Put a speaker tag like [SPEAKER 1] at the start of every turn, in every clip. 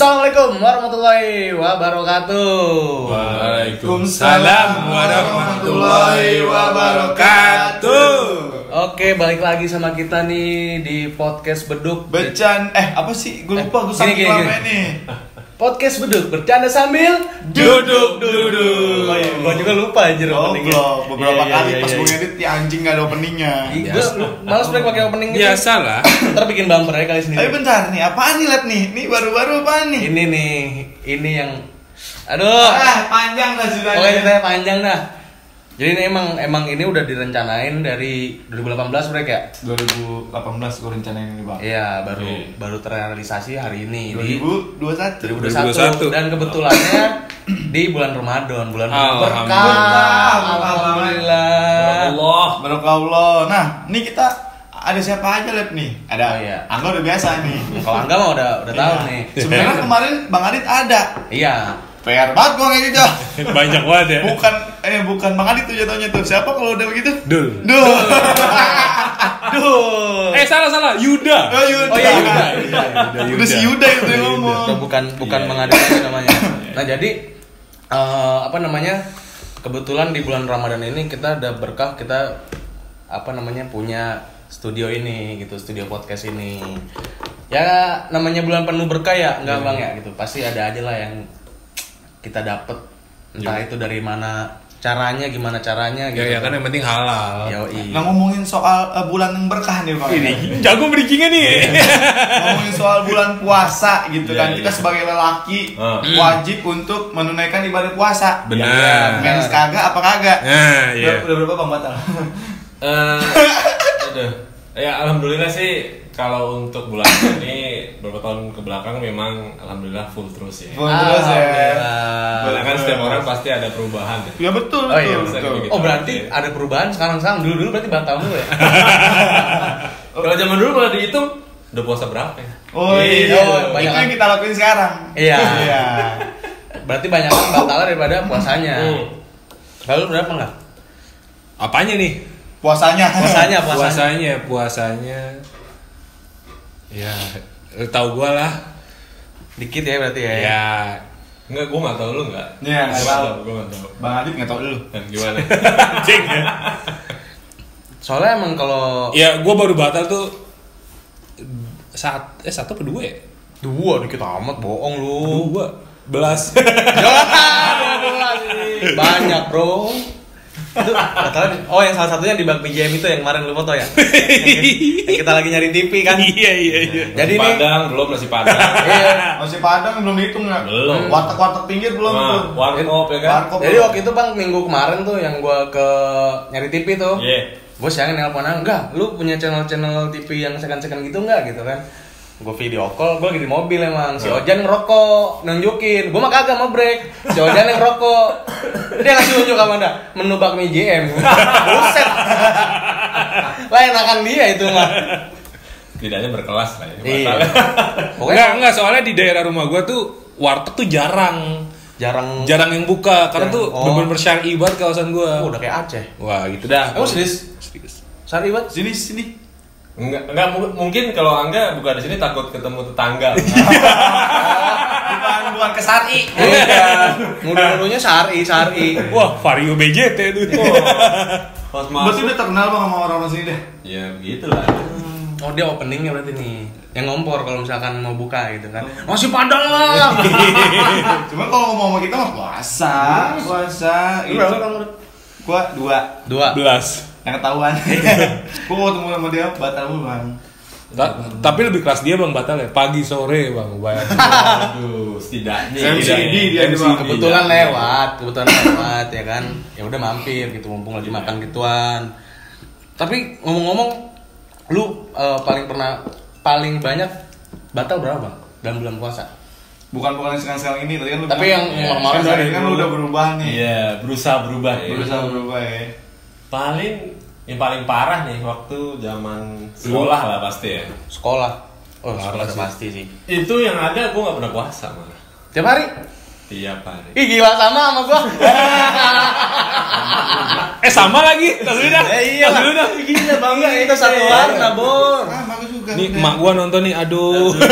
[SPEAKER 1] Assalamualaikum warahmatullahi wabarakatuh.
[SPEAKER 2] Waalaikumsalam warahmatullahi wabarakatuh.
[SPEAKER 1] Oke, balik lagi sama kita nih di podcast Beduk.
[SPEAKER 2] Becan eh apa sih? Gue lupa gue
[SPEAKER 1] gini,
[SPEAKER 2] saking
[SPEAKER 1] gini,
[SPEAKER 2] lama
[SPEAKER 1] gini.
[SPEAKER 2] nih.
[SPEAKER 1] Podcast Beduk bercanda sambil
[SPEAKER 2] Duduk duduk. Oh,
[SPEAKER 1] Oh iya, gua juga lupa anjir openingnya.
[SPEAKER 2] Goblok, beberapa
[SPEAKER 1] Iya,
[SPEAKER 2] kali
[SPEAKER 1] iya,
[SPEAKER 2] pas
[SPEAKER 1] iya,
[SPEAKER 2] gue
[SPEAKER 1] iya.
[SPEAKER 2] ngedit ya anjing gak ada openingnya.
[SPEAKER 1] Iya, Gua males break pakai opening gitu.
[SPEAKER 3] Biasalah.
[SPEAKER 1] Ntar bikin bumper aja kali sendiri.
[SPEAKER 2] Tapi bentar nih, apaan nih lab nih? Ini baru-baru apaan nih?
[SPEAKER 1] Ini nih, ini yang aduh.
[SPEAKER 2] Ah, panjang lah
[SPEAKER 1] Oke
[SPEAKER 2] ceritanya.
[SPEAKER 1] ceritanya panjang dah. Jadi ini emang emang ini udah direncanain dari 2018 mereka
[SPEAKER 2] Iya.
[SPEAKER 1] ya?
[SPEAKER 2] 2018 gue rencanain ini bang.
[SPEAKER 1] Iya baru
[SPEAKER 3] Iya.
[SPEAKER 1] baru terrealisasi hari ini di
[SPEAKER 2] 2021.
[SPEAKER 1] 2021
[SPEAKER 3] 2021.
[SPEAKER 1] dan kebetulannya di bulan Ramadan bulan
[SPEAKER 2] Ah,
[SPEAKER 3] Alhamdulillah.
[SPEAKER 1] berkah alhamdulillah
[SPEAKER 3] Allah.
[SPEAKER 2] Barokah Allah. Nah, ini kita ada siapa aja lab nih? Ada.
[SPEAKER 1] Oh, iya.
[SPEAKER 2] Angga udah biasa nih.
[SPEAKER 1] kalau enggak mah udah udah tahu
[SPEAKER 2] Iya.
[SPEAKER 1] nih
[SPEAKER 2] Sebenarnya kemarin Bang Adit ada.
[SPEAKER 1] iya
[SPEAKER 2] PR banget gua kayak gitu.
[SPEAKER 3] Banyak banget ya.
[SPEAKER 2] Bukan eh bukan Bang Adit tuh jatuhnya tuh. Siapa kalau udah begitu?
[SPEAKER 3] Dul.
[SPEAKER 2] Duh.
[SPEAKER 1] aduh
[SPEAKER 3] Eh salah salah Yuda.
[SPEAKER 2] Oh, Yuda.
[SPEAKER 1] oh iya Yuda, Yuda, Yuda.
[SPEAKER 2] Udah si Yuda itu yang ngomong.
[SPEAKER 1] Tuh, bukan bukan
[SPEAKER 3] Iya,
[SPEAKER 1] mengadakan namanya nah jadi eh, apa namanya kebetulan di bulan Ramadan ini kita ada berkah kita apa namanya punya studio ini gitu studio podcast ini ya namanya bulan penuh berkah ya
[SPEAKER 2] Iya.
[SPEAKER 1] enggak bang ya gitu pasti ada aja lah yang kita dapet entah
[SPEAKER 2] Iya.
[SPEAKER 1] itu dari mana caranya gimana caranya gitu
[SPEAKER 3] Ya, ya kan yang penting halal.
[SPEAKER 1] Yoi.
[SPEAKER 2] Nah ngomongin soal eh, bulan yang berkah nih Bang.
[SPEAKER 3] Jago bridgingnya nih.
[SPEAKER 4] Iya.
[SPEAKER 2] ngomongin soal bulan puasa gitu
[SPEAKER 3] Iya,
[SPEAKER 2] kan. Kita
[SPEAKER 3] iya.
[SPEAKER 2] sebagai lelaki
[SPEAKER 3] Ah.
[SPEAKER 2] wajib untuk menunaikan ibadah puasa. Iya.
[SPEAKER 3] Benar.
[SPEAKER 2] Mens kagak apa kagak?
[SPEAKER 3] Nah, iya.
[SPEAKER 2] Udah, udah berapa Bang Batal?
[SPEAKER 4] Eh, aduh. Ya alhamdulillah sih kalau untuk bulan ini beberapa tahun kebelakang memang alhamdulillah full terus ya.
[SPEAKER 2] Bulan terus ya.
[SPEAKER 1] Alhamdulillah.
[SPEAKER 4] Karena kan
[SPEAKER 2] Betul.
[SPEAKER 4] setiap orang pasti ada perubahan. ya.
[SPEAKER 2] Ya betul,
[SPEAKER 1] Oh, iya,
[SPEAKER 2] betul,
[SPEAKER 4] bisa
[SPEAKER 2] betul.
[SPEAKER 4] gitu.
[SPEAKER 1] Oh berarti ada perubahan sekarang sekarang dulu dulu berarti batal dulu ya.
[SPEAKER 3] Oh.
[SPEAKER 4] Kalau zaman dulu malah dihitung udah puasa berapa ya?
[SPEAKER 2] Oh iya,
[SPEAKER 1] Iya, banyak
[SPEAKER 2] itu yang
[SPEAKER 1] kan?
[SPEAKER 2] kita lakuin sekarang.
[SPEAKER 1] Iya. Berarti banyak yang batal daripada puasanya.
[SPEAKER 4] Hmm.
[SPEAKER 1] Lalu berapa nggak?
[SPEAKER 3] Apanya nih?
[SPEAKER 2] Puasanya.
[SPEAKER 1] Ya, Puasanya puasanya.
[SPEAKER 3] Puasanya, puasanya. Ya, lu tahu gua lah.
[SPEAKER 1] Dikit ya berarti ya.
[SPEAKER 4] Iya.
[SPEAKER 3] Ya,
[SPEAKER 4] Enggak, gua nggak tahu lu enggak.
[SPEAKER 2] Iya, nggak tahu.
[SPEAKER 4] Gua nggak tahu.
[SPEAKER 2] Bang Adit nggak tau dulu.
[SPEAKER 4] Dan gimana?
[SPEAKER 1] ya. Soalnya emang kalau
[SPEAKER 3] ya gua baru batal tuh saat eh satu atau dua ya?
[SPEAKER 1] dua dikit amat bohong lu. Ya,
[SPEAKER 3] Dua belas.
[SPEAKER 1] banyak bro. Itu batalnya di- Oh yang salah satunya di bak BJM itu yang kemarin lu foto ya. yang kita lagi nyari TV kan.
[SPEAKER 3] Iya iya iya.
[SPEAKER 1] Jadi
[SPEAKER 4] nasi
[SPEAKER 1] nih.
[SPEAKER 4] Padang belum nasi Padang.
[SPEAKER 1] Iya.
[SPEAKER 2] Masih Padang belum dihitung nggak?
[SPEAKER 4] Belum.
[SPEAKER 2] Warteg-warteg pinggir belum tuh.
[SPEAKER 4] Nah, warkop ya kan?
[SPEAKER 2] Warkop
[SPEAKER 1] Jadi
[SPEAKER 2] belum.
[SPEAKER 1] waktu itu bang minggu kemarin tuh yang gua ke nyari TV tuh.
[SPEAKER 4] Iya.
[SPEAKER 1] Gue siangnya nelpon Ang, enggak, lu punya channel-channel TV yang second-second gitu enggak gitu kan Gue video call, gue lagi di mobil emang Si Ojan ngerokok, nunjukin Gue mah kagak mau break Si Ojan yang ngerokok Dia ngasih unjuk sama anda Menu bakmi JM Buset Lah enakan dia itu mah
[SPEAKER 4] Tidaknya berkelas lah ya.
[SPEAKER 1] Iya
[SPEAKER 4] batal.
[SPEAKER 1] Pokoknya
[SPEAKER 3] Enggak, enggak, soalnya di daerah rumah gua tuh warteg tuh jarang.
[SPEAKER 1] jarang
[SPEAKER 3] Jarang yang buka karena
[SPEAKER 1] Jarang.
[SPEAKER 3] tuh
[SPEAKER 1] Oh.
[SPEAKER 3] bener-bener syar'i banget kawasan
[SPEAKER 1] Oh,
[SPEAKER 3] gua.
[SPEAKER 1] Udah kayak Aceh
[SPEAKER 3] Wah, gitu dah.
[SPEAKER 1] Emang serius?
[SPEAKER 3] Serius.
[SPEAKER 1] Sari banget
[SPEAKER 2] sini sini.
[SPEAKER 4] Enggak, enggak mu- mungkin kalau Angga buka di sini takut ketemu tetangga.
[SPEAKER 2] Bukan bukan ke Sari.
[SPEAKER 1] Bukan Mudah-mudahnya Sari, Sari
[SPEAKER 3] Wah, Vario BJT tuh.
[SPEAKER 4] Pas
[SPEAKER 2] Berarti
[SPEAKER 4] masuk.
[SPEAKER 2] udah terkenal bang sama orang-orang sini deh.
[SPEAKER 4] Ya begitulah.
[SPEAKER 1] Oh dia openingnya berarti nih yang ngompor kalau misalkan mau buka gitu kan masih padang lah
[SPEAKER 2] Cuman kalau ngomong sama kita mah puasa, puasa.
[SPEAKER 1] Lu
[SPEAKER 2] Itu
[SPEAKER 1] berapa kamu?
[SPEAKER 2] gua dua
[SPEAKER 1] dua
[SPEAKER 3] Belas.
[SPEAKER 2] yang ketahuan.
[SPEAKER 1] Iya.
[SPEAKER 2] gua ketemu sama dia batal mulu bang.
[SPEAKER 3] Ta- tapi lebih kelas dia bang batal ya pagi sore bang bayangin.
[SPEAKER 4] Aduh, setidaknya.
[SPEAKER 2] Saya
[SPEAKER 4] setidaknya.
[SPEAKER 2] MCD dia nih, Bang.
[SPEAKER 1] kebetulan lewat kebetulan lewat ya kan ya udah mampir gitu mumpung lagi makan gituan tapi ngomong-ngomong lu eh, paling pernah paling banyak batal berapa bang dalam bulan puasa
[SPEAKER 2] Bukan bukan yang sekarang-sekarang ini, tadi kan lu.
[SPEAKER 1] Tapi
[SPEAKER 2] bilang-
[SPEAKER 1] yang-
[SPEAKER 2] Iya,
[SPEAKER 1] yang kemarin
[SPEAKER 2] sekarang
[SPEAKER 1] dari
[SPEAKER 2] ini kan lu
[SPEAKER 1] dulu. iya.
[SPEAKER 2] udah berubah nih.
[SPEAKER 4] Iya, berusaha berubah ya.
[SPEAKER 2] Berusaha berubah ya.
[SPEAKER 4] Paling yang paling parah nih waktu zaman sekolah lah pasti ya.
[SPEAKER 1] sekolah oh sekolah
[SPEAKER 3] sih.
[SPEAKER 1] udah pasti sih
[SPEAKER 4] Itu yang ada gue nggak pernah puasa malah.
[SPEAKER 1] tiap hari
[SPEAKER 4] Tiap hari.
[SPEAKER 1] ih gila sama sama gua
[SPEAKER 3] eh sama lagi tas dulu dah
[SPEAKER 1] Eh, iya
[SPEAKER 3] Tas
[SPEAKER 1] lah.
[SPEAKER 3] dulu dah.
[SPEAKER 1] Iya, bang kita satu warna bor
[SPEAKER 2] Ah, bagus juga.
[SPEAKER 3] nih
[SPEAKER 2] udah.
[SPEAKER 3] mak gua nonton nih aduh
[SPEAKER 1] Dia-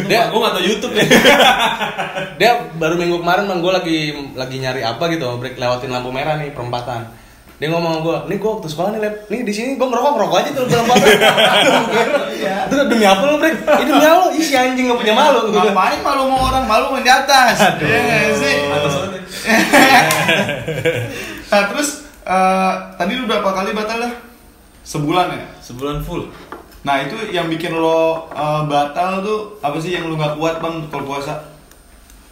[SPEAKER 4] Dia, gue nggak tau YouTube ya.
[SPEAKER 1] dia baru minggu kemarin bang gue lagi lagi nyari apa gitu break lewatin lampu merah nih perempatan dia ngomong sama gue nih gue waktu sekolah nih lab nih di sini gue ngerokok ngerokok aja tuh perempatan
[SPEAKER 4] Iya.
[SPEAKER 1] itu kan demi apa lo break ini demi apa lo isi anjing gak punya malu gitu
[SPEAKER 2] Ngapain malu mau orang malu main di atas? Iya nggak sih?
[SPEAKER 4] Atas sana.
[SPEAKER 2] Nah terus eh, tadi lu berapa kali batal dah? Sebulan ya.
[SPEAKER 4] Sebulan full.
[SPEAKER 2] Nah itu yang bikin lo eh, batal tuh apa sih yang lu nggak kuat bang kalau puasa?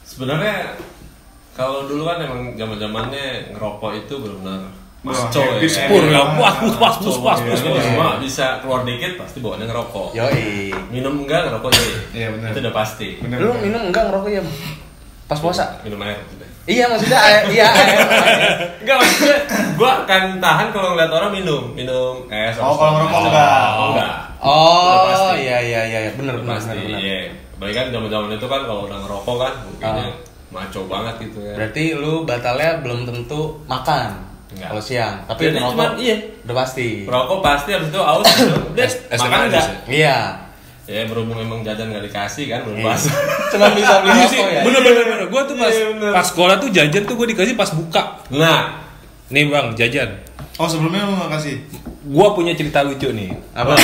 [SPEAKER 4] Sebenarnya kalau dulu kan emang zaman zamannya ngerokok itu benar-benar
[SPEAKER 2] Wah,
[SPEAKER 4] masco ya.
[SPEAKER 2] habis
[SPEAKER 3] Pur,
[SPEAKER 2] Eh,
[SPEAKER 3] ya, puas, puas, puas,
[SPEAKER 4] Masco,
[SPEAKER 3] puas, puas,
[SPEAKER 4] ya.
[SPEAKER 3] puas,
[SPEAKER 4] Lu
[SPEAKER 3] puas.
[SPEAKER 4] Cuma bisa keluar dikit pasti bawaannya ngerokok.
[SPEAKER 1] yoi
[SPEAKER 4] Minum enggak ngerokok jadi.
[SPEAKER 2] Iya, benar.
[SPEAKER 4] Itu udah pasti.
[SPEAKER 1] lu minum enggak ngerokok ya Bang? pas puasa
[SPEAKER 4] Minum air. udah.
[SPEAKER 1] iya maksudnya air, iya air, air.
[SPEAKER 4] Enggak maksudnya, gue akan tahan kalau ngeliat orang minum, minum es.
[SPEAKER 2] Oh, kalau
[SPEAKER 4] atau segala
[SPEAKER 2] ngerokok
[SPEAKER 4] macam.
[SPEAKER 2] enggak.
[SPEAKER 4] Oh, enggak.
[SPEAKER 1] oh
[SPEAKER 4] Udah pasti.
[SPEAKER 1] iya iya iya iya. bener
[SPEAKER 4] Udah
[SPEAKER 1] bener
[SPEAKER 4] pasti.
[SPEAKER 1] bener, bener.
[SPEAKER 4] Iya. Apalagi kan zaman-zaman itu kan kalau udah ngerokok kan, mungkinnya
[SPEAKER 1] Ah.
[SPEAKER 4] maco banget gitu ya.
[SPEAKER 1] berarti lu batalnya belum tentu makan
[SPEAKER 4] Enggak.
[SPEAKER 1] kalau siang tapi
[SPEAKER 4] Jadi
[SPEAKER 1] ngerokok
[SPEAKER 4] cuman, iya.
[SPEAKER 1] udah pasti
[SPEAKER 4] Rokok pasti habis itu aus minum, udah,
[SPEAKER 3] Es- es
[SPEAKER 4] makan
[SPEAKER 3] lemon
[SPEAKER 4] enggak.
[SPEAKER 3] aja sih.
[SPEAKER 1] iya
[SPEAKER 4] Ya berhubung emang jajan nggak dikasih kan, belum
[SPEAKER 1] Iya.
[SPEAKER 4] pas.
[SPEAKER 1] Cuma bisa beli
[SPEAKER 3] Iya
[SPEAKER 1] rokok
[SPEAKER 3] sih,
[SPEAKER 1] ya.
[SPEAKER 3] bener bener bener. Gue tuh pas
[SPEAKER 4] Iya, bener.
[SPEAKER 3] pas sekolah tuh jajan tuh gue dikasih pas buka.
[SPEAKER 4] Nah,
[SPEAKER 3] Nih bang, jajan.
[SPEAKER 2] Oh sebelumnya lu nggak kasih?
[SPEAKER 3] Gue punya cerita lucu nih.
[SPEAKER 1] Apa?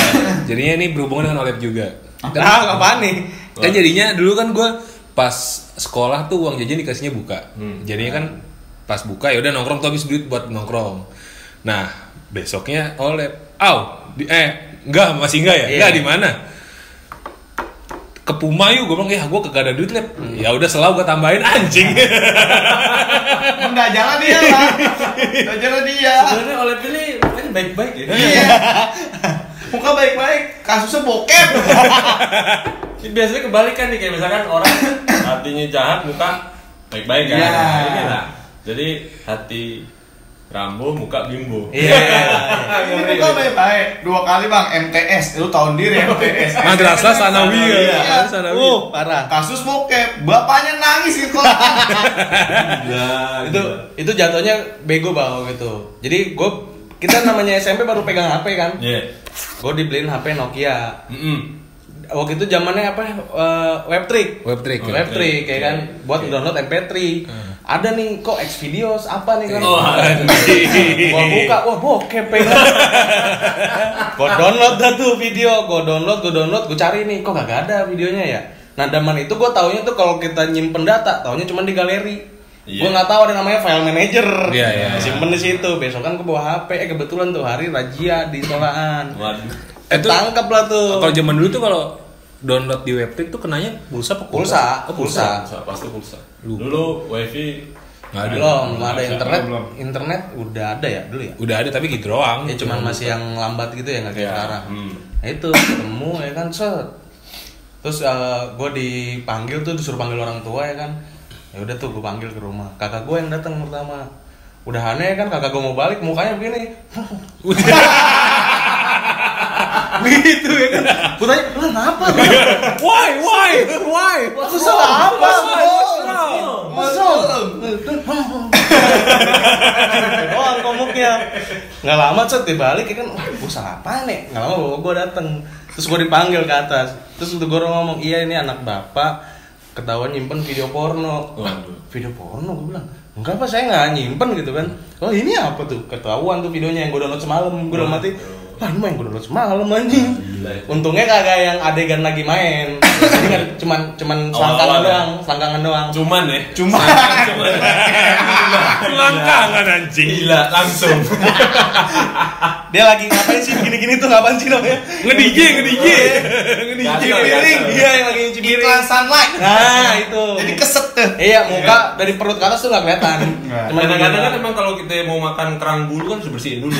[SPEAKER 3] Jadinya ini berhubungan dengan Olep juga.
[SPEAKER 1] Nah, apaan nih?
[SPEAKER 3] Kan jadinya dulu kan gue pas sekolah tuh uang jajan dikasihnya buka.
[SPEAKER 1] Hmm.
[SPEAKER 3] Jadinya kan pas buka ya udah nongkrong tuh habis duit buat nongkrong. Nah besoknya Olep, aw, di, eh enggak masih enggak ya?
[SPEAKER 1] Iya.
[SPEAKER 3] Enggak di mana? Ke Puma yuk, gue bilang ya gue kagak ada duit lep.
[SPEAKER 1] Hmm.
[SPEAKER 3] Ya udah selalu gue tambahin anjing.
[SPEAKER 2] Enggak jalan dia bang. Nggak jalan dia.
[SPEAKER 4] sebenarnya oleh pilih mukanya baik-baik ya.
[SPEAKER 2] Iya. Muka baik-baik, kasusnya bokep.
[SPEAKER 4] Ini Biasanya kebalikan nih kayak misalkan orang hatinya jahat muka baik-baik kan.
[SPEAKER 2] Iya.
[SPEAKER 4] Nah, ini lah. Jadi hati Rambo muka bimbo.
[SPEAKER 1] Iya.
[SPEAKER 2] Ini muka baik-baik. Dua kali bang MTS, lu tahun diri MTS.
[SPEAKER 3] Madrasah Sanawiyah.
[SPEAKER 2] Iya.
[SPEAKER 3] Sanawiyah.
[SPEAKER 1] Uh, parah.
[SPEAKER 2] Kasus bokep, bapaknya nangis gitu.
[SPEAKER 4] Gila,
[SPEAKER 1] Itu
[SPEAKER 4] gila.
[SPEAKER 1] itu jatuhnya bego banget gitu. Jadi gue kita namanya SMP baru pegang HP kan.
[SPEAKER 4] Iya.
[SPEAKER 1] Gue dibeliin HP Nokia.
[SPEAKER 4] Mm-mm.
[SPEAKER 1] Waktu itu zamannya apa? eh, webtrick.
[SPEAKER 3] Webtrick.
[SPEAKER 1] Webtrick kayak kan buat
[SPEAKER 3] Iya.
[SPEAKER 1] download MP3.
[SPEAKER 3] Hmm.
[SPEAKER 1] Ada nih kok Xvideos apa nih kan?
[SPEAKER 4] Oh,
[SPEAKER 3] Iya.
[SPEAKER 1] gua buka, wah bokep ya. gua download dah tuh video, gua download, gua download, gua cari nih, kok gak ada videonya ya. Nah, daman itu gua taunya tuh kalau kita nyimpen data, taunya cuma di galeri.
[SPEAKER 4] Iya.
[SPEAKER 1] Gua nggak tahu ada namanya file manager.
[SPEAKER 3] Iya, iya.
[SPEAKER 1] Gua Simpen di situ. Besok kan gua bawa HP, eh kebetulan tuh hari rajia di sekolahan.
[SPEAKER 4] Waduh.
[SPEAKER 3] Itu-
[SPEAKER 1] Ketangkep lah tuh.
[SPEAKER 3] Kalau zaman dulu tuh kalau download di webtrick tuh kenanya pulsa apa
[SPEAKER 1] Pulsa,
[SPEAKER 3] Oh,
[SPEAKER 1] pulsa.
[SPEAKER 3] pulsa.
[SPEAKER 4] Pulsa, pasti pulsa.
[SPEAKER 3] Lupa.
[SPEAKER 4] Dulu wifi
[SPEAKER 3] Nggak ada.
[SPEAKER 1] belum, belum ada internet.
[SPEAKER 2] Belum.
[SPEAKER 1] Internet udah ada ya dulu ya?
[SPEAKER 3] Udah ada tapi gitu doang.
[SPEAKER 1] Ya cuman masih yang lambat gitu ya nggak kayak
[SPEAKER 4] Iya.
[SPEAKER 1] sekarang.
[SPEAKER 4] Hmm.
[SPEAKER 1] Nah itu ketemu ya kan set. Terus gue dipanggil tuh disuruh panggil orang tua ya kan. Ya udah tuh gue panggil ke rumah. Kakak gue yang datang pertama. Udah aneh kan kakak gue mau balik mukanya begini. gitu ya kan. Gue tanya, "Lah kenapa?"
[SPEAKER 3] why, why, why?
[SPEAKER 1] Aku salah apa? Masuk. Doang komuknya. Nggak lama cet dibalik ya kan, wah gue salah apa nih? Nggak lama bapak gue dateng, terus gue dipanggil ke atas, terus untuk gue ngomong iya ini anak bapak ketahuan nyimpen video porno.
[SPEAKER 4] Waduh.
[SPEAKER 1] Video porno gue bilang enggak apa saya nggak nyimpen gitu kan. Oh ini apa tuh? Ketahuan tuh videonya yang gue download semalam, gue udah mati. Wah ini mah yang gue download semalam anjing.
[SPEAKER 4] Gila ya.
[SPEAKER 1] Untungnya kagak yang adegan lagi main. Jadi kan cuman cuman selangkangan
[SPEAKER 4] Awal-awal ya?
[SPEAKER 1] doang, selangkangan doang.
[SPEAKER 4] Cuman ya.
[SPEAKER 2] Cuma
[SPEAKER 4] Cuman.
[SPEAKER 3] Langkangan anjing.
[SPEAKER 4] Gila langsung.
[SPEAKER 1] Dia lagi ngapain sih gini-gini tuh ngapain sih namanya?
[SPEAKER 3] Nge-DJ, nge-DJ.
[SPEAKER 1] Nyuci
[SPEAKER 4] Gatel,
[SPEAKER 1] piring.
[SPEAKER 4] gatel.
[SPEAKER 1] Iya, yang lagi nyuci piring.
[SPEAKER 2] iklan sunlight.
[SPEAKER 1] Nah, itu.
[SPEAKER 2] Jadi keset tuh.
[SPEAKER 1] Iya, muka dari perut ke atas tuh nggak kelihatan.
[SPEAKER 2] Nggak.
[SPEAKER 1] Cuman
[SPEAKER 4] Kadang-kadang kan
[SPEAKER 1] gini.
[SPEAKER 4] emang kalau kita mau makan kerang bulu kan harus bersihin dulu.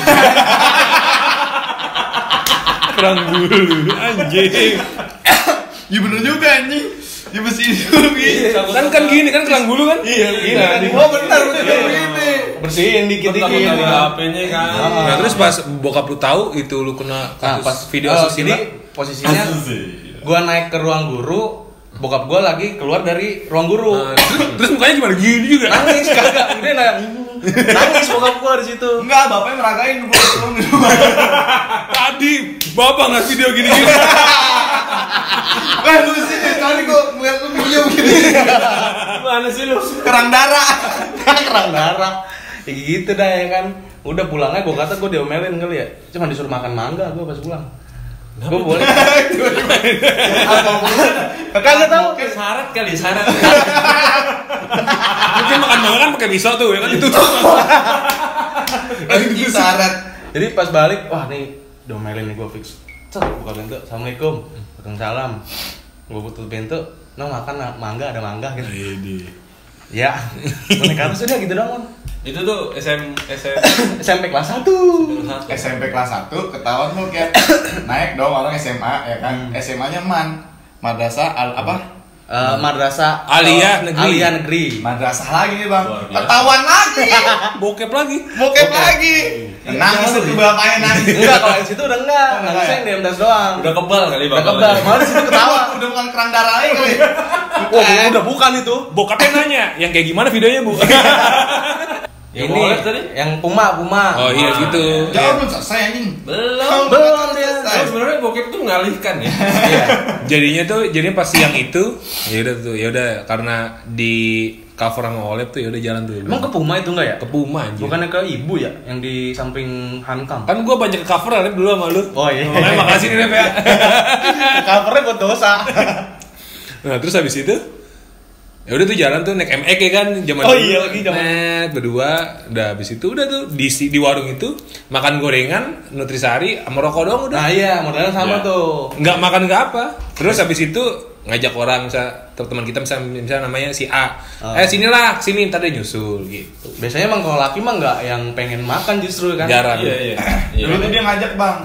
[SPEAKER 3] Kerang bulu anjing.
[SPEAKER 2] Ya bener juga anjing. Ya mesti dulu gitu.
[SPEAKER 3] Kan kan gini kan kerang bulu kan?
[SPEAKER 1] Iya,
[SPEAKER 4] Iya,
[SPEAKER 1] iya.
[SPEAKER 4] di-
[SPEAKER 1] Oh, benar benar.
[SPEAKER 2] Ini.
[SPEAKER 1] Bersihin
[SPEAKER 4] Takut
[SPEAKER 1] dikit-dikit.
[SPEAKER 4] ada HP-nya kan.
[SPEAKER 3] Nah, terus pas bokap lu tahu itu lu kena
[SPEAKER 1] Nah,
[SPEAKER 3] kasus
[SPEAKER 1] pas
[SPEAKER 3] video
[SPEAKER 1] eh,
[SPEAKER 3] asusila.
[SPEAKER 1] jadi posisinya gua naik ke ruang guru, bokap gua lagi keluar dari ruang guru.
[SPEAKER 3] Nah, terus, terus mukanya cuma gini juga.
[SPEAKER 1] nangis kagak dia nanya, nangis bokap gua di situ
[SPEAKER 2] Enggak, bapaknya
[SPEAKER 3] Ah,
[SPEAKER 2] meragain gua belum di rumah.
[SPEAKER 3] Tadi bapak ngasih video gini gini.
[SPEAKER 2] Eh lu sih dari tadi gua ngeliat lu video gini
[SPEAKER 4] Mana sih lu?
[SPEAKER 2] Kerang darah
[SPEAKER 1] kerang darah ya gitu dah ya kan udah pulangnya gue kata gue diomelin kali ya cuma disuruh makan mangga gue pas pulang gue boleh kagak tahu
[SPEAKER 4] Mungkin syarat kali, syarat.
[SPEAKER 3] Mungkin makan makan kan pakai pisau tuh ya kan itu.
[SPEAKER 2] Anjing syarat
[SPEAKER 1] jadi pas balik wah nih diomelin nih gue fix Cet, buka pintu assalamualaikum waalaikumsalam gue tutup pintu no makan nah, mangga ada mangga gitu ya gue naik ke atas udah gitu doang Mon.
[SPEAKER 4] Itu tuh SM SM
[SPEAKER 1] SMP kelas 1
[SPEAKER 2] SMP kelas 1 ketahuan lu kayak naik dong orang SMA ya
[SPEAKER 4] Hmm.
[SPEAKER 2] kan SMA nya man Madrasah al apa
[SPEAKER 1] Eh madrasah eh,
[SPEAKER 3] Aliyah Negeri.
[SPEAKER 1] Aliyah Negeri.
[SPEAKER 2] Madrasah lagi nih bang
[SPEAKER 4] Luar biasa.
[SPEAKER 2] ketahuan lagi
[SPEAKER 3] Bokep lagi.
[SPEAKER 2] bokep lagi
[SPEAKER 4] Iya.
[SPEAKER 2] nangis itu bapaknya nangis
[SPEAKER 1] Enggak, kalau di situ udah enggak.
[SPEAKER 2] Oh,
[SPEAKER 1] Nangisnya
[SPEAKER 2] enggak
[SPEAKER 1] yang diam das doang.
[SPEAKER 4] Udah kebal kali
[SPEAKER 1] Udah
[SPEAKER 4] bakal.
[SPEAKER 1] kebal. Malah di situ ketawa. Iya.
[SPEAKER 2] udah bukan kerang darah lagi kali
[SPEAKER 4] Iya.
[SPEAKER 1] Wah, gua udah bukan itu.
[SPEAKER 3] Bokapnya nanya, yang kayak gimana videonya bu?
[SPEAKER 4] Yang boleh tadi?
[SPEAKER 1] yang Puma, Puma.
[SPEAKER 3] oh iya gitu.
[SPEAKER 2] jauh belum selesai anjing
[SPEAKER 4] Belum.
[SPEAKER 1] Belum,
[SPEAKER 2] Belum
[SPEAKER 1] dia.
[SPEAKER 4] Kan sebenarnya bokep tuh mengalihkan ya.
[SPEAKER 1] Iya.
[SPEAKER 3] Iya. Jadinya tuh, jadinya pas siang itu, ya udah tuh, ya udah karena di cover sama Olep tuh ya udah jalan tuh.
[SPEAKER 1] Emang ke Puma itu enggak ya?
[SPEAKER 3] ke Puma anjir.
[SPEAKER 1] Bukannya ke ibu ya, yang di samping Hankam.
[SPEAKER 3] Kan gua banyak cover Olep dulu sama lu.
[SPEAKER 1] Oh iya.
[SPEAKER 3] Makanya makasih nih Olep ya.
[SPEAKER 1] Covernya buat dosa.
[SPEAKER 3] Nah terus habis itu ya udah tuh jalan tuh naik MEK ya kan zaman
[SPEAKER 1] Oh
[SPEAKER 3] dulu.
[SPEAKER 1] iya, lagi zaman-
[SPEAKER 3] Net, berdua udah habis itu udah tuh di si- di warung itu makan gorengan nutrisari sama rokok doang udah
[SPEAKER 1] Nah iya, modelnya sama tuh.
[SPEAKER 3] nggak makan nggak apa terus habis itu ngajak orang bisa teman kita bisa misalnya namanya si A
[SPEAKER 1] Oh.
[SPEAKER 3] eh sinilah sini ntar dia nyusul gitu
[SPEAKER 1] Biasanya emang kalau laki mah enggak yang pengen makan justru kan.
[SPEAKER 3] jarang
[SPEAKER 4] Iya, iya. Iya.
[SPEAKER 2] Dulu tuh dia ngajak bang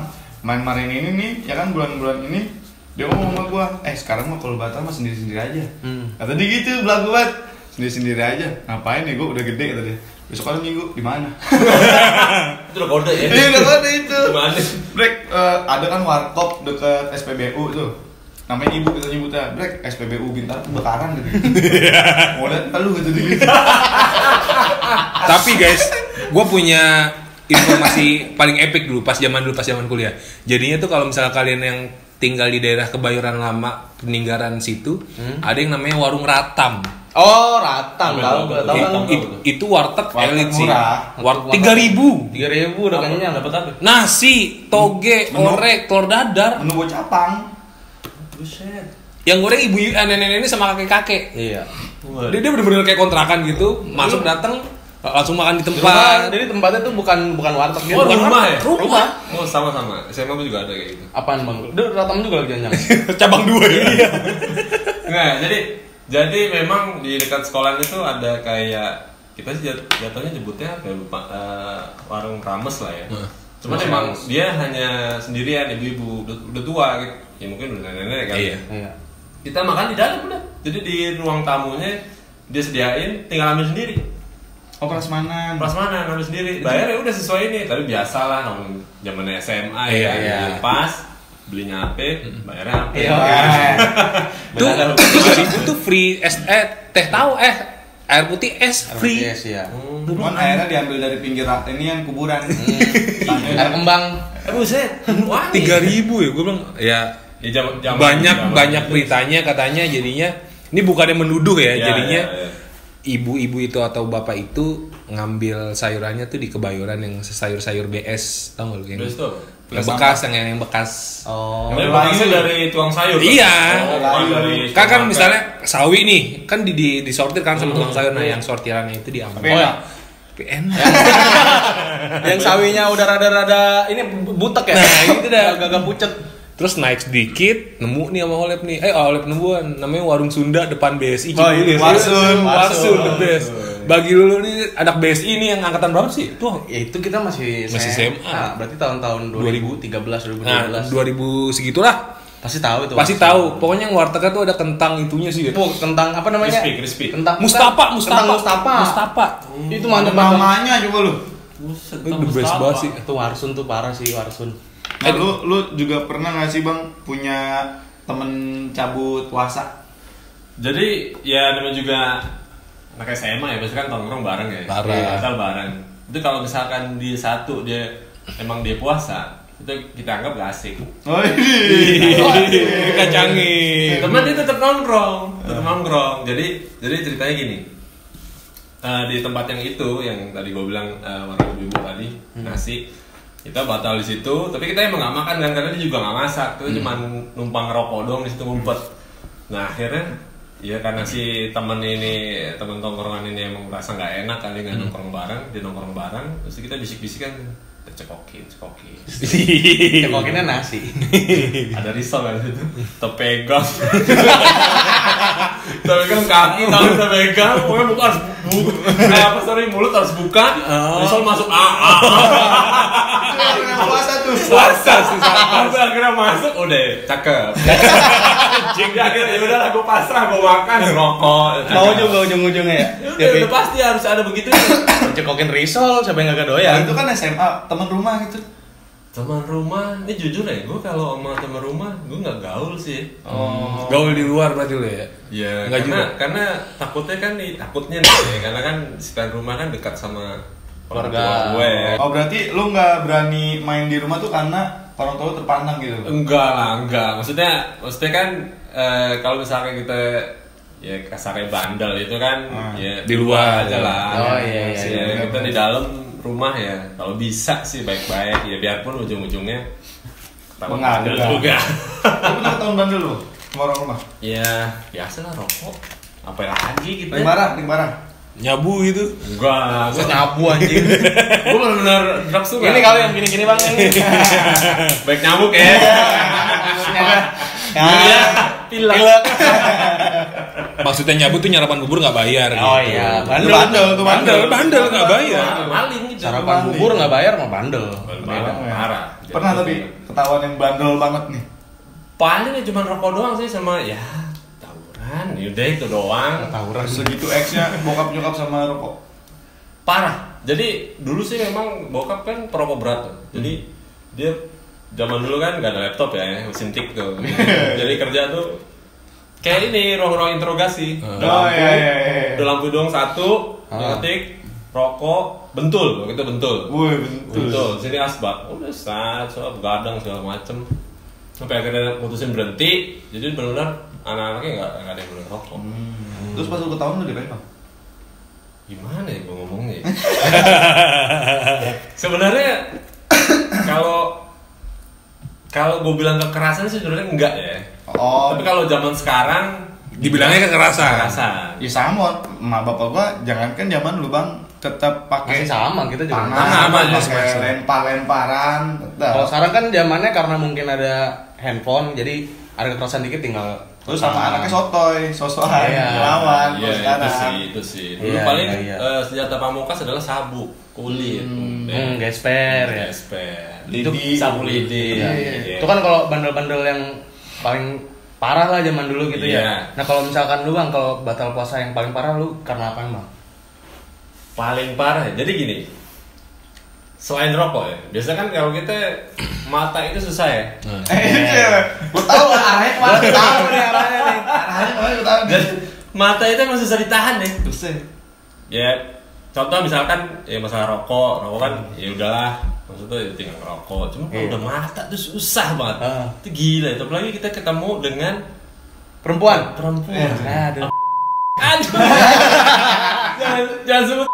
[SPEAKER 2] main marin ini nih, ya kan bulan-bulan ini dia ngomong sama gua, eh sekarang mah kalau batal mah sendiri-sendiri aja.
[SPEAKER 1] Hmm.
[SPEAKER 2] Kata dia gitu, belagu banget. Sendiri-sendiri aja. Ngapain nih gua udah gede kata dia. Besok kan minggu di mana?
[SPEAKER 4] Itu udah kode ya.
[SPEAKER 2] Iya udah ada itu.
[SPEAKER 4] Gimana?
[SPEAKER 2] Brek, eh, ada kan warkop deket SPBU tuh. Namanya ibu kita nyebutnya, Brek SPBU Bintar bekaran gitu. Modal ntar lu gitu gitu.
[SPEAKER 3] tapi guys gue punya informasi paling epic dulu pas zaman dulu pas zaman kuliah jadinya tuh kalau misalnya kalian yang tinggal di daerah kebayoran lama peninggaran situ ada yang namanya warung ratam
[SPEAKER 1] Oh, Ratang
[SPEAKER 4] Ambil
[SPEAKER 1] tahu
[SPEAKER 4] obat.
[SPEAKER 1] gua tahu
[SPEAKER 3] I-
[SPEAKER 1] kan.
[SPEAKER 4] Ratam.
[SPEAKER 3] i- itu warteg
[SPEAKER 2] Warteg
[SPEAKER 3] elit sih
[SPEAKER 2] murah.
[SPEAKER 3] warteg tiga ribu
[SPEAKER 1] 3000 udah kenyang
[SPEAKER 4] Dapat apa?
[SPEAKER 3] nasi toge
[SPEAKER 2] Menu.
[SPEAKER 3] orek telur dadar
[SPEAKER 2] Menunggu capang.
[SPEAKER 4] Buset.
[SPEAKER 3] yang goreng ibu eh, nenek-nenek sama kakek-kakek
[SPEAKER 1] Iya.
[SPEAKER 3] dia, dia bener-bener kayak kontrakan gitu masuk datang langsung makan di
[SPEAKER 1] Tempat,
[SPEAKER 3] tempat
[SPEAKER 1] jadi tempatnya tuh bukan bukan warteg gitu.
[SPEAKER 4] Oh, rumah, ya?
[SPEAKER 3] Rumah.
[SPEAKER 4] Oh, sama-sama. SMA gua juga ada kayak gitu.
[SPEAKER 1] Apaan bang? Duh, Ratam juga lagi Iya. kenyang.
[SPEAKER 3] cabang dua ya
[SPEAKER 4] Nah, jadi jadi memang di dekat sekolah itu ada kayak kita sih jat- jatuhnya nyebutnya apa ya lupa Eh, warung rames lah ya. Cuman
[SPEAKER 1] Warung
[SPEAKER 4] emang
[SPEAKER 1] rames.
[SPEAKER 4] dia hanya sendirian ibu-ibu udah, udah tua gitu. Ya mungkin udah nenek kan.
[SPEAKER 3] Iya.
[SPEAKER 1] Iya.
[SPEAKER 4] Kita makan di dalam udah. Jadi di ruang tamunya dia sediain tinggal ambil sendiri.
[SPEAKER 2] Oh prasmanan.
[SPEAKER 4] Pas mana ambil sendiri. Bayar ya udah sesuai ini. Tapi biasa lah zaman zamannya SMA
[SPEAKER 3] Iya,
[SPEAKER 4] ya.
[SPEAKER 1] iya.
[SPEAKER 4] Pas belinya apa, bayarnya apa.
[SPEAKER 1] Iya.
[SPEAKER 3] tuh
[SPEAKER 1] Benar,
[SPEAKER 3] tuh seribu tuh free es eh teh tahu eh air putih es free
[SPEAKER 1] Yes, iya.
[SPEAKER 2] Cuman airnya diambil dari pinggir rak- ini yang kuburan. Iya.
[SPEAKER 1] Air kembang.
[SPEAKER 4] Eh buset, wangi.
[SPEAKER 3] tiga ribu ya gue bilang ya
[SPEAKER 4] Ya, jam- jam-
[SPEAKER 3] banyak
[SPEAKER 4] jam-
[SPEAKER 3] banyak beritanya katanya jadinya ini bukannya menuduh ya,
[SPEAKER 4] Ya,
[SPEAKER 3] jadinya
[SPEAKER 4] ya, ya.
[SPEAKER 3] ibu-ibu itu atau bapak itu ngambil sayurannya tuh di kebayoran yang sayur-sayur BS tau gak lu yang,
[SPEAKER 4] Terus tuh.
[SPEAKER 3] yang bekas yang yang bekas
[SPEAKER 1] Oh.
[SPEAKER 4] Tapi
[SPEAKER 2] Layu.
[SPEAKER 4] bekasnya dari tuang sayur. kan?
[SPEAKER 3] Iya.
[SPEAKER 4] Oh, bukan
[SPEAKER 2] Layu.
[SPEAKER 4] dari
[SPEAKER 3] kan kan
[SPEAKER 4] supermarket.
[SPEAKER 3] misalnya sawi nih kan di, di disortir kan sama tukang sayur nah yang sortirannya itu diambil
[SPEAKER 2] Tapi enak.
[SPEAKER 3] Tapi enak
[SPEAKER 1] Yang sawinya udah rada-rada ini bu- butek ya.
[SPEAKER 3] Nah, itu dah.
[SPEAKER 1] Agak-agak pucet.
[SPEAKER 3] Terus naik sedikit, nemu nih sama Olep nih. Eh, Olep nemuan. Namanya Warung Sunda depan BSI.
[SPEAKER 1] Oh, iya,
[SPEAKER 2] Warsun.
[SPEAKER 3] gitu. Warsun, the best. Bagi dulu nih, anak BSI nih yang angkatan berapa sih? Tuh, Nah,
[SPEAKER 1] Ya itu kita masih
[SPEAKER 3] Masih SMA.
[SPEAKER 1] Ah, berarti tahun-tahun 2013
[SPEAKER 3] nah,
[SPEAKER 1] 2012.
[SPEAKER 3] 2000 segitulah.
[SPEAKER 1] Pasti tahu itu.
[SPEAKER 3] Pasti tahu. Pokoknya yang wartegnya tuh ada kentang itunya sih. ya.
[SPEAKER 1] Puk, tentang apa namanya?
[SPEAKER 4] Crispy, crispy.
[SPEAKER 1] Tentang
[SPEAKER 3] Mustafa,
[SPEAKER 1] tentang
[SPEAKER 3] Mustafa.
[SPEAKER 1] Mustafa.
[SPEAKER 3] Mustafa.
[SPEAKER 1] Itu
[SPEAKER 2] Mana
[SPEAKER 1] mantep banget.
[SPEAKER 2] mamanya coba lu.
[SPEAKER 4] Buset,
[SPEAKER 3] Itu the best banget sih.
[SPEAKER 1] Itu Warsun tuh parah sih Warsun.
[SPEAKER 2] Nah, lu lu juga pernah nggak sih bang punya temen cabut puasa?
[SPEAKER 4] Jadi ya namanya juga anak SMA ya, biasanya kan tongkrong bareng ya.
[SPEAKER 3] Bareng.
[SPEAKER 4] Iya, Asal bareng. Itu kalau misalkan di satu dia emang dia puasa, itu kita anggap gak asik
[SPEAKER 2] Oh Iya, ini.
[SPEAKER 3] Kacangin.
[SPEAKER 4] teman dia tetap nongkrong tetap nongkrong jadi jadi ceritanya gini Eh, di tempat yang itu yang tadi gue bilang eh, warung ibu tadi nasi kita batal di situ tapi kita emang gak makan kan karena dia juga gak masak itu cuma numpang rokok doang di situ ngumpet nah akhirnya ya karena si temen ini temen tongkrongan ini emang merasa nggak enak kali nggak nongkrong bareng dia nongkrong bareng terus kita bisik-bisikan "Kita cekokin cekokin
[SPEAKER 1] Cekokinnya nasi.
[SPEAKER 4] ada risol kan itu terpegang terpegang kaki tangan terpegang pokoknya muka harus buka eh apa sorry mulut harus buka risol masuk a a
[SPEAKER 2] Karena iya. puasa tuh.
[SPEAKER 4] puasa sih akhirnya masuk udah cakep jadi akhirnya udah lah gue pasrah gue makan rokok cakep.
[SPEAKER 1] Mau juga ujung-ujungnya ya.
[SPEAKER 4] Udah,
[SPEAKER 1] Tapi
[SPEAKER 4] udah pasti harus ada begitu
[SPEAKER 1] cekokin risol siapa yang gak
[SPEAKER 2] Ya
[SPEAKER 1] doyan.
[SPEAKER 2] itu kan SMA teman rumah gitu.
[SPEAKER 4] teman rumah ini jujur ya gue kalau sama teman rumah gue nggak gaul sih
[SPEAKER 2] Oh.
[SPEAKER 3] Gaul di luar berarti lo ya.
[SPEAKER 1] Iya,
[SPEAKER 4] Ya,
[SPEAKER 3] Nggak
[SPEAKER 4] karena,
[SPEAKER 3] juga.
[SPEAKER 4] karena takutnya kan nih, takutnya nih, ya, karena kan sekitar rumah kan dekat sama orang
[SPEAKER 1] Keluarga.
[SPEAKER 4] tua gue.
[SPEAKER 2] Oh berarti lu nggak berani main di rumah tuh karena orang tua lu terpandang gitu.
[SPEAKER 4] Enggak lah, enggak. Maksudnya, maksudnya kan eh, kalau misalnya kita ya kasarnya bandel itu kan
[SPEAKER 2] Hmm.
[SPEAKER 4] ya
[SPEAKER 3] Di luar.
[SPEAKER 4] aja lah.
[SPEAKER 1] Oh, iya, iya,
[SPEAKER 4] Maksudnya
[SPEAKER 2] iya.
[SPEAKER 4] kita di dalam rumah ya. Kalau bisa sih baik-baik ya biarpun ujung-ujungnya ketahuan
[SPEAKER 2] Enggak,
[SPEAKER 4] bandel
[SPEAKER 2] enggak.
[SPEAKER 4] juga.
[SPEAKER 2] Lu pernah ketahuan bandel lu sama orang rumah?
[SPEAKER 4] ya biasa lah rokok. Apa lagi gitu
[SPEAKER 2] Paling parah, paling parah.
[SPEAKER 3] Nyabu gitu.
[SPEAKER 4] Enggak lah,
[SPEAKER 1] Terus nyabu anjing.
[SPEAKER 4] gue benar-benar drop suka.
[SPEAKER 1] Ini kalau yang gini-gini bang ini.
[SPEAKER 4] baik nyamuk ya.
[SPEAKER 1] Ya,
[SPEAKER 4] pilek.
[SPEAKER 3] Maksudnya nyabu tuh nyarapan bubur nggak bayar.
[SPEAKER 1] Oh
[SPEAKER 3] gitu.
[SPEAKER 1] iya,
[SPEAKER 2] Bandel,
[SPEAKER 1] bandel.
[SPEAKER 2] bandel, tuh bandel.
[SPEAKER 3] Bandel, bandel nggak bayar.
[SPEAKER 4] Maling gitu.
[SPEAKER 1] Sarapan bubur nggak bayar mah bandel.
[SPEAKER 4] Marah, marah.
[SPEAKER 2] ya. Pernah tapi ketahuan yang bandel banget nih.
[SPEAKER 4] Paling ya cuma rokok doang sih sama ya tawuran. Yaudah itu doang.
[SPEAKER 1] Tawuran.
[SPEAKER 2] Segitu X-nya bokap nyokap sama rokok.
[SPEAKER 4] Parah. Jadi dulu sih memang bokap kan perokok berat tuh. Jadi
[SPEAKER 2] Hmm.
[SPEAKER 4] dia zaman dulu kan gak ada laptop ya, mesin tik tuh. Jadi kerja tuh kayak ini ruang-ruang interogasi.
[SPEAKER 3] Hmm.
[SPEAKER 4] Ada
[SPEAKER 2] Oh,
[SPEAKER 4] lampu,
[SPEAKER 2] iya, iya, iya.
[SPEAKER 4] Ada lampu doang satu,
[SPEAKER 1] Ah.
[SPEAKER 4] ngetik, rokok, bentul, kita bentul.
[SPEAKER 2] Woi, betul.
[SPEAKER 4] Betul, sini asbak. Udah saat soal begadang segala macem. Sampai akhirnya mutusin berhenti. Jadi benar-benar anak-anaknya nggak nggak ada yang boleh rokok.
[SPEAKER 2] Hmm. Terus pas lu ketahuan lu diapain, Bang?
[SPEAKER 4] Gimana ya gue ngomongnya? ya? Sebenarnya kalau kalau gue bilang kekerasan sih sebenarnya enggak ya.
[SPEAKER 2] Oh,
[SPEAKER 4] Tapi kalau zaman sekarang
[SPEAKER 3] Dibilangnya kekerasan.
[SPEAKER 4] kekerasan.
[SPEAKER 2] ya sama. Ma bapak gua jangankan zaman lu, Bang, tetap pakai
[SPEAKER 1] Masih sama kita juga.
[SPEAKER 2] tangan,
[SPEAKER 4] Sama, sama,
[SPEAKER 2] pakai
[SPEAKER 4] sama.
[SPEAKER 2] lempar-lemparan, tetap.
[SPEAKER 1] Kalau sekarang kan zamannya karena mungkin ada handphone, jadi ada kekerasan dikit tinggal
[SPEAKER 2] Terus sama anaknya sotoy, sosokan,
[SPEAKER 1] Ah. Iya.
[SPEAKER 2] melawan,
[SPEAKER 4] Iya
[SPEAKER 2] terus
[SPEAKER 4] itu
[SPEAKER 2] sekarang.
[SPEAKER 4] sih itu sih. Dulu
[SPEAKER 1] Iya,
[SPEAKER 4] paling
[SPEAKER 1] iya, iya.
[SPEAKER 4] eh, senjata pamungkas adalah sabuk, kulit,
[SPEAKER 1] hmm, gesper ya.
[SPEAKER 4] gesper,
[SPEAKER 2] Lidi.
[SPEAKER 4] sapu Iya, lidi.
[SPEAKER 1] Iya,
[SPEAKER 2] iya.
[SPEAKER 1] Itu kan kalau bandel-bandel yang paling parah lah zaman dulu gitu
[SPEAKER 4] Iya.
[SPEAKER 1] ya. Nah kalau misalkan lu bang, kalau batal puasa yang paling parah lu karena apa bang?
[SPEAKER 4] paling parah ya. jadi gini selain rokok ya biasanya kan kalau kita mata itu susah ya
[SPEAKER 2] Eh, iya. Gua tahu lah arahnya kemana. Gua tahu nih arahnya nih. Arahnya kemana gua tahu.
[SPEAKER 4] jadi mata itu emang susah ditahan ya
[SPEAKER 2] Terus deh.
[SPEAKER 4] ya contoh misalkan ya masalah rokok rokok kan ya udahlah maksudnya ya tinggal rokok cuma kalau
[SPEAKER 1] Iya.
[SPEAKER 4] udah mata tuh susah banget
[SPEAKER 1] Ah.
[SPEAKER 4] itu gila itu apalagi kita ketemu dengan
[SPEAKER 1] Perempuan.
[SPEAKER 4] perempuan
[SPEAKER 1] Aduh.
[SPEAKER 4] aduh jangan jangan sebut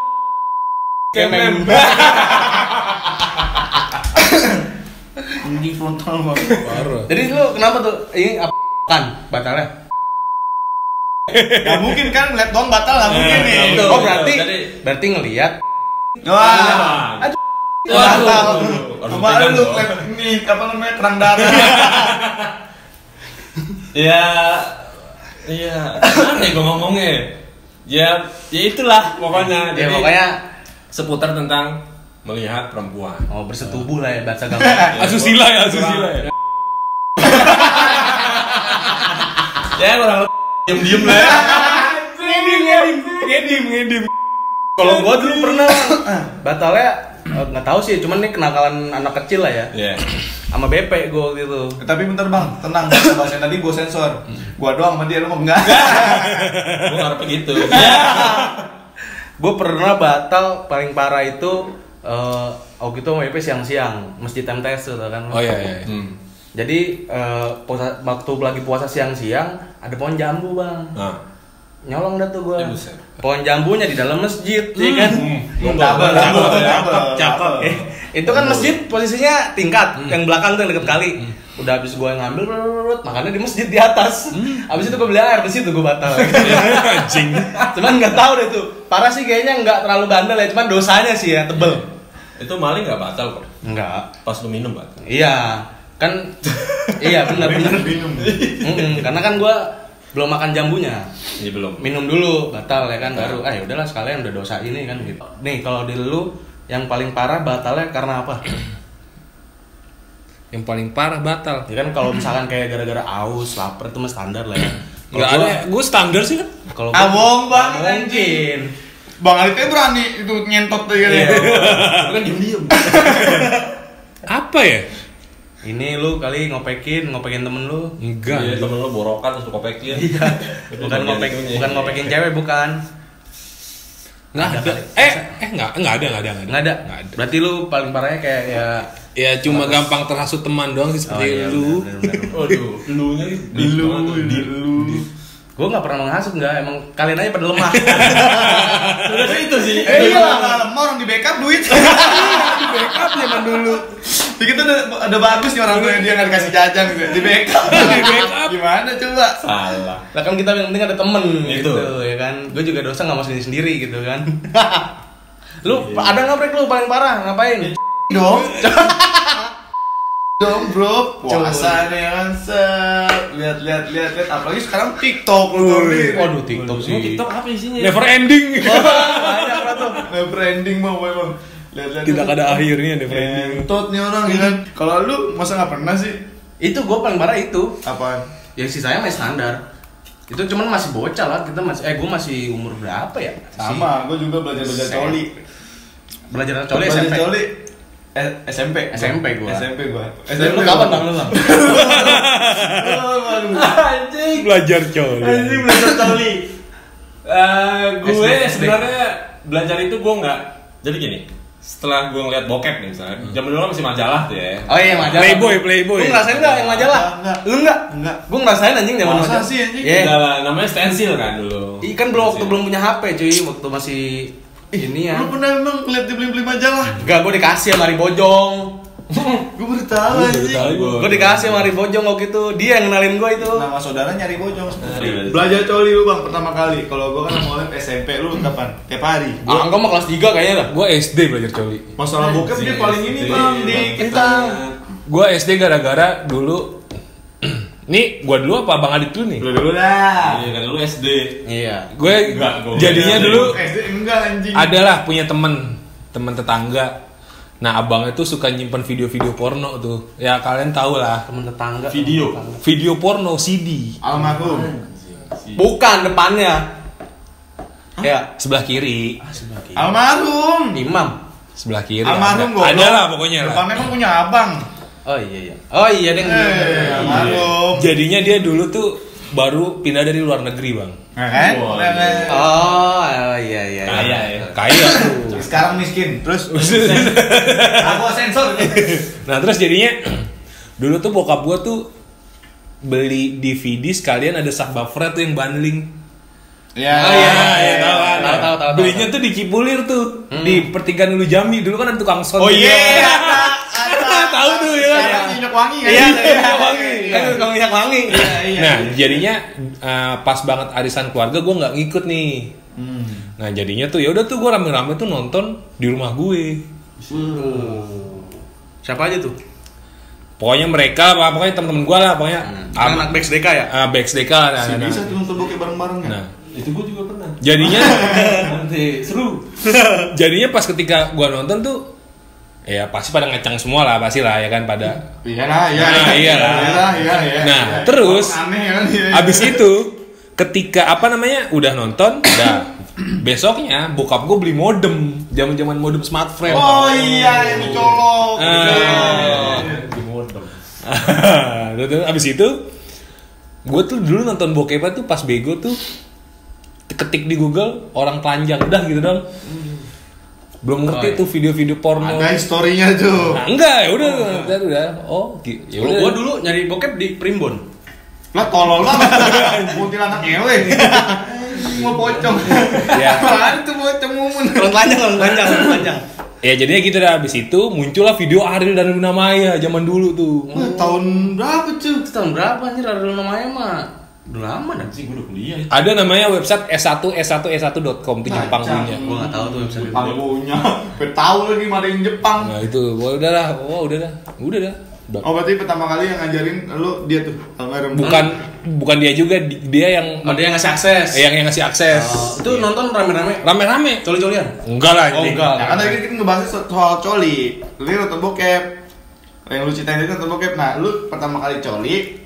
[SPEAKER 1] Kemem.
[SPEAKER 4] kemem
[SPEAKER 2] Ini frontal banget.
[SPEAKER 3] Parah.
[SPEAKER 1] Jadi lu kenapa tuh ini apa kan batalnya?
[SPEAKER 2] Gak mungkin kan lihat doang batal gak
[SPEAKER 4] Iya.
[SPEAKER 2] mungkin nih.
[SPEAKER 4] Betul.
[SPEAKER 1] Oh berarti
[SPEAKER 4] gitu. Jadi-
[SPEAKER 1] berarti ya ngelihat
[SPEAKER 2] Wah.
[SPEAKER 1] Aduh.
[SPEAKER 2] Batal.
[SPEAKER 4] Harus
[SPEAKER 2] Kemarin
[SPEAKER 4] dipegang
[SPEAKER 2] lu
[SPEAKER 4] dong.
[SPEAKER 2] lihat ini apa namanya terang darah.
[SPEAKER 4] Ya, iya. Gimana ya gue ngomongnya? Ya, ya itulah pokoknya.
[SPEAKER 1] ya pokoknya
[SPEAKER 4] seputar tentang melihat perempuan.
[SPEAKER 1] oh bersetubuh lah ya bahasa gampang.
[SPEAKER 3] Asusila ya, asusila ya.
[SPEAKER 4] Ya kurang lebih diam-diam lah. ya.
[SPEAKER 3] Ngedim, ngedim, ngedim, ngedim.
[SPEAKER 1] Kalau gua dulu pernah batalnya eh, nggak tahu sih, cuman ini kenakalan anak kecil lah ya.
[SPEAKER 4] Ya.
[SPEAKER 1] Sama BP gua waktu itu.
[SPEAKER 2] Tapi bentar bang, tenang. Bahasa yang tadi gua sensor. Gua doang sama dia lu mau enggak?
[SPEAKER 4] Gue harap begitu. Ya.
[SPEAKER 1] Gua pernah batal paling parah itu eh, eh Oki tuh sama Ipe siang-siang, mesti time test tuh kan.
[SPEAKER 3] Oh iya iya. iya.
[SPEAKER 4] Hmm.
[SPEAKER 1] Jadi eh, puasa- waktu lagi puasa siang-siang ada pohon jambu bang.
[SPEAKER 4] Nah,
[SPEAKER 1] Nyolong dah tuh gua.
[SPEAKER 4] Ya, buset.
[SPEAKER 1] Pohon jambunya di dalam masjid, ya kan?
[SPEAKER 2] Double, double, double,
[SPEAKER 4] Cakep.
[SPEAKER 2] double.
[SPEAKER 1] Itu kan masjid posisinya tingkat, yang belakang tuh yang deket kali. Udah habis gua ngambil, brrrrrrrrut, makannya di masjid di atas. Habis itu gua beli air di situ gua batal.
[SPEAKER 3] Anjing.
[SPEAKER 1] cuman nggak tahu deh tuh. Parah sih kayaknya nggak terlalu bandel ya, cuman dosanya sih ya tebel.
[SPEAKER 4] itu maling nggak batal kok.
[SPEAKER 1] Enggak.
[SPEAKER 4] Pas lu minum batal.
[SPEAKER 1] Iya, kan iya benar benar.
[SPEAKER 2] Minum.
[SPEAKER 1] Mm-mm, karena kan gua belum makan jambunya.
[SPEAKER 4] Ini belum.
[SPEAKER 1] minum dulu batal ya kan baru ah yaudahlah sekalian udah dosa ini kan gitu nih kalau di lu yang paling parah batalnya karena apa
[SPEAKER 3] Yang paling parah batal.
[SPEAKER 1] ya kan kalau misalkan kayak gara-gara aus lapar itu mah standar lah ya Kalau
[SPEAKER 3] Enggak
[SPEAKER 1] gua-
[SPEAKER 3] ada. Gue standar sih kan.
[SPEAKER 1] kalau
[SPEAKER 2] Ah, bohong banget,
[SPEAKER 1] Nggak mungkin
[SPEAKER 2] Bang Alit kan berani itu nyentot tuh kan.
[SPEAKER 4] Iya. Lu kan diem-diem.
[SPEAKER 3] Apa ya?
[SPEAKER 1] ini lu kali ngopekin ngopekin temen lu
[SPEAKER 3] Enggak.
[SPEAKER 4] Iya, temen lu borokan terus lu kopekin. Itu
[SPEAKER 1] Iya. bukan
[SPEAKER 4] bagian
[SPEAKER 1] ngopek
[SPEAKER 4] itunya.
[SPEAKER 1] bukan ngopekin cewek bukan
[SPEAKER 3] Enggak
[SPEAKER 1] Ada
[SPEAKER 3] ada.
[SPEAKER 1] kali.
[SPEAKER 3] Eh, eh enggak, enggak ada, enggak ada, enggak ada.
[SPEAKER 1] nggak ada
[SPEAKER 3] Nggak ada.
[SPEAKER 1] berarti lu paling parahnya kayak ya
[SPEAKER 3] Ya cuma gampang terhasut teman doang sih seperti
[SPEAKER 1] iya,
[SPEAKER 3] lu.
[SPEAKER 1] bener, bener, bener.
[SPEAKER 4] Waduh, lu nya
[SPEAKER 2] Lu, lu.
[SPEAKER 1] gua nggak pernah menghasut nggak emang kalian aja pada lemah
[SPEAKER 4] Udah sih itu sih.
[SPEAKER 2] Eh iya lah, nggak lemah orang di backup duit. di backup zaman dulu. Jadi kita udah, udah bagus nih orang tuanya dia nggak dikasih jajan gitu. Di backup. di backup. Gimana coba?
[SPEAKER 4] Salah.
[SPEAKER 1] lah kan kita yang penting ada temen gitu
[SPEAKER 4] Itu.
[SPEAKER 1] ya kan gue juga dosa nggak mau sendiri sendiri gitu kan lu
[SPEAKER 2] Iya.
[SPEAKER 1] ada nggak break lu paling parah ngapain
[SPEAKER 2] dong dong bro puasa nih kan set lihat lihat lihat lihat apalagi sekarang tiktok lu nih
[SPEAKER 1] waduh tiktok
[SPEAKER 4] Lu
[SPEAKER 1] sih
[SPEAKER 4] TikTok apa isinya?
[SPEAKER 3] Never ending.
[SPEAKER 1] Oh.
[SPEAKER 2] banyak lah tuh nah, branding bang boy bang lihat lihat
[SPEAKER 3] Tidak ada akhirnya
[SPEAKER 1] Iya.
[SPEAKER 3] never ending.
[SPEAKER 2] entot nih orang ya kan kalau lu masa nggak pernah sih
[SPEAKER 1] itu gue paling parah itu
[SPEAKER 2] apaan
[SPEAKER 1] yang sisanya masih standar itu cuman masih bocah lah kita masih eh gue masih umur berapa ya
[SPEAKER 2] sama gue juga belajar belajar
[SPEAKER 1] Sem-
[SPEAKER 2] coli
[SPEAKER 1] belajar coli
[SPEAKER 2] Belajar
[SPEAKER 1] SMP
[SPEAKER 2] coli eh, SMP
[SPEAKER 1] SMP gua.
[SPEAKER 2] SMP gua
[SPEAKER 1] SMP lu kapan bang lu bang
[SPEAKER 4] Anjing.
[SPEAKER 3] Belajar cowok.
[SPEAKER 4] Anjing belajar tali. Eh, gue
[SPEAKER 1] SD.
[SPEAKER 4] sebenarnya belajar itu gue nggak. Jadi gini, setelah gue ngeliat bokep nih misalnya, zaman dulu kan masih majalah tuh ya.
[SPEAKER 1] oh iya majalah
[SPEAKER 3] Playboy, Playboy.
[SPEAKER 1] lu ngerasain nggak yang majalah
[SPEAKER 2] Nggak.
[SPEAKER 1] lu nggak
[SPEAKER 2] Nggak.
[SPEAKER 1] gue ngerasain anjing zaman
[SPEAKER 2] Masa
[SPEAKER 1] majalah.
[SPEAKER 2] sih, anjing?
[SPEAKER 1] Iya.
[SPEAKER 4] Udah lah, namanya stensil kan dulu.
[SPEAKER 1] Ih, kan belum waktu
[SPEAKER 4] Stensil.
[SPEAKER 1] belum punya HP cuy waktu masih ini ya
[SPEAKER 2] lu pernah emang ngeliat dia beli beli majalah
[SPEAKER 1] Enggak, gue dikasih sama Ari Bojong
[SPEAKER 2] gue baru tahu anjing
[SPEAKER 1] Gue dikasih sama Ari Bojong waktu itu Dia yang kenalin gue itu
[SPEAKER 2] nama saudara nyari bojong
[SPEAKER 4] Nyari bojong.
[SPEAKER 2] belajar coli lu bang pertama kali kalau gua kan mau SMP lu kapan tiap hari
[SPEAKER 1] Ah, enggak mah kelas 3 kayaknya dah
[SPEAKER 3] Gue SD belajar coli.
[SPEAKER 2] masalah bokep dia paling ini bang di kita
[SPEAKER 3] Gue SD gara-gara dulu Nih, gue dulu apa Bang Adit dulu nih?
[SPEAKER 2] lu dulu dah
[SPEAKER 4] Iya, kan dulu SD.
[SPEAKER 1] Iya
[SPEAKER 3] Gue
[SPEAKER 4] Enggak, gua
[SPEAKER 3] jadinya
[SPEAKER 4] belajar
[SPEAKER 3] dulu
[SPEAKER 2] SD enggak anjing
[SPEAKER 3] adalah punya temen temen tetangga. Nah, abangnya tuh suka nyimpen video-video porno tuh. Ya kalian tau lah.
[SPEAKER 1] Temen tetangga temen
[SPEAKER 4] Video.
[SPEAKER 1] tetangga.
[SPEAKER 3] Video porno CD
[SPEAKER 2] almarhum
[SPEAKER 1] Bukan, depannya Ya
[SPEAKER 3] sebelah kiri,
[SPEAKER 1] Ah,
[SPEAKER 2] almarhum
[SPEAKER 1] Imam
[SPEAKER 3] sebelah kiri. ada,
[SPEAKER 2] almarhum gua
[SPEAKER 3] ada lah pokoknya lah.
[SPEAKER 2] depannya kan punya abang
[SPEAKER 1] Oh iya iya Oh iya deh
[SPEAKER 2] eh almarhum
[SPEAKER 3] Jadinya dia dulu tuh baru pindah dari luar negeri bang.
[SPEAKER 2] Nah, kan
[SPEAKER 4] Wah,
[SPEAKER 1] iya.
[SPEAKER 2] Nah, nah.
[SPEAKER 1] Oh iya iya iya.
[SPEAKER 4] Kaya ya.
[SPEAKER 3] Nah, Kaya.
[SPEAKER 2] sekarang miskin terus aku sensor
[SPEAKER 3] nah terus jadinya dulu tuh bokap gua tuh beli DVD sekalian ada Sabah Fred tuh yang bundling.
[SPEAKER 2] ya
[SPEAKER 1] Oh, iya,
[SPEAKER 3] Ah,
[SPEAKER 1] iya,
[SPEAKER 3] ya, tahu Hmm. kan?
[SPEAKER 1] Tahu, tahu, tahu, tahu.
[SPEAKER 3] Belinya tuh di Cipulir tuh di pertigaan Ulu Jambi dulu kan ada tukang son.
[SPEAKER 2] oh iya
[SPEAKER 3] Tahu tuh, ya.
[SPEAKER 2] Sekarang minyak wangi kan?
[SPEAKER 3] Iya, minyak wangi.
[SPEAKER 1] Kan itu tukang minyak wangi
[SPEAKER 2] Iya, iya.
[SPEAKER 3] Nah jadinya eh, pas banget arisan keluarga gua nggak ngikut nih.
[SPEAKER 2] Hmm.
[SPEAKER 3] Nah jadinya tuh ya udah tuh gua rame-rame tuh nonton di rumah gue.
[SPEAKER 1] Siapa aja tuh?
[SPEAKER 3] Pokoknya mereka lah, pokoknya temen-temen gue lah, pokoknya
[SPEAKER 1] Anak-anak Bex DK ya?
[SPEAKER 3] ah, Bex DK lah. Nah,
[SPEAKER 2] Si
[SPEAKER 3] nah,
[SPEAKER 2] bisa
[SPEAKER 3] nah.
[SPEAKER 2] tuh nonton bokep bareng-bareng ya?
[SPEAKER 3] Nah,
[SPEAKER 4] Itu gue juga pernah.
[SPEAKER 3] jadinya
[SPEAKER 4] Nanti seru.
[SPEAKER 3] jadinya pas ketika gue nonton tuh ya pasti pada ngeceng semua lah pasti lah ya kan pada
[SPEAKER 2] Iya lah, iya.
[SPEAKER 3] Nah, iyalah.
[SPEAKER 2] Iyalah, iya, iya.
[SPEAKER 3] Nah,
[SPEAKER 2] iya.
[SPEAKER 3] terus,
[SPEAKER 2] Orang aneh kan iya.
[SPEAKER 3] abis itu ketika apa namanya udah nonton udah besoknya bokap gue beli modem zaman zaman modem smartphone
[SPEAKER 2] Oh iya, yang dicolok.
[SPEAKER 3] Ah.
[SPEAKER 2] Iya, iya,
[SPEAKER 1] Oh.
[SPEAKER 2] iya.
[SPEAKER 4] Di modem.
[SPEAKER 3] Terus- terus abis itu gue tuh dulu nonton bokep tuh pas
[SPEAKER 4] Hmm.
[SPEAKER 3] bego tuh ketik di Google orang telanjang udah gitu dong belum
[SPEAKER 4] Oh,
[SPEAKER 3] ngerti
[SPEAKER 4] iya.
[SPEAKER 3] tuh video-video porno
[SPEAKER 2] Ada historinya tuh.
[SPEAKER 3] Nah, enggak ya udah udah udah oh gi- ya
[SPEAKER 1] Kalau
[SPEAKER 3] udah.
[SPEAKER 1] gua dulu nyari bokep di Primbon.
[SPEAKER 2] Lah tolol banget. Kuntilanak ewe. Mau pocong.
[SPEAKER 3] Ya.
[SPEAKER 2] Apaan tuh pocong mumun.
[SPEAKER 1] Kalau telanjang, kalau telanjang, kalau telanjang.
[SPEAKER 3] ya jadinya gitu dah habis itu muncullah video Ariel dan Luna Maya zaman dulu tuh
[SPEAKER 2] Wah, Tahun berapa cuy?
[SPEAKER 1] Itu tahun berapa anjir Ariel namanya mah? Udah lama dah.
[SPEAKER 4] Anjing, gua udah kuliah.
[SPEAKER 3] ada namanya website s1 s1 s1.com itu Jepang
[SPEAKER 2] Kacau.
[SPEAKER 3] punya
[SPEAKER 1] Gua nggak tahu tuh website itu.
[SPEAKER 2] Jepang punya. Gue tahu lagi ada yang Jepang.
[SPEAKER 3] nah itu wah udahlah wah udahlah udah dah Udah.
[SPEAKER 2] Oh berarti pertama kali yang ngajarin lu dia tuh almarhum.
[SPEAKER 3] bukan bukan dia juga di- dia yang
[SPEAKER 1] Ada yang ngasih akses.
[SPEAKER 3] yang yang ngasih akses
[SPEAKER 2] Eh,
[SPEAKER 1] Oh, itu nonton rame-rame.
[SPEAKER 3] rame-rame
[SPEAKER 1] Coli-colian.
[SPEAKER 3] enggak lah
[SPEAKER 1] Oh,
[SPEAKER 3] ini.
[SPEAKER 1] enggak.
[SPEAKER 2] Ya kan tadi kita ngebahas so- soal coli. Lu nonton bokep. Yang lu ceritain itu nonton bokep. Nah, lu pertama kali coli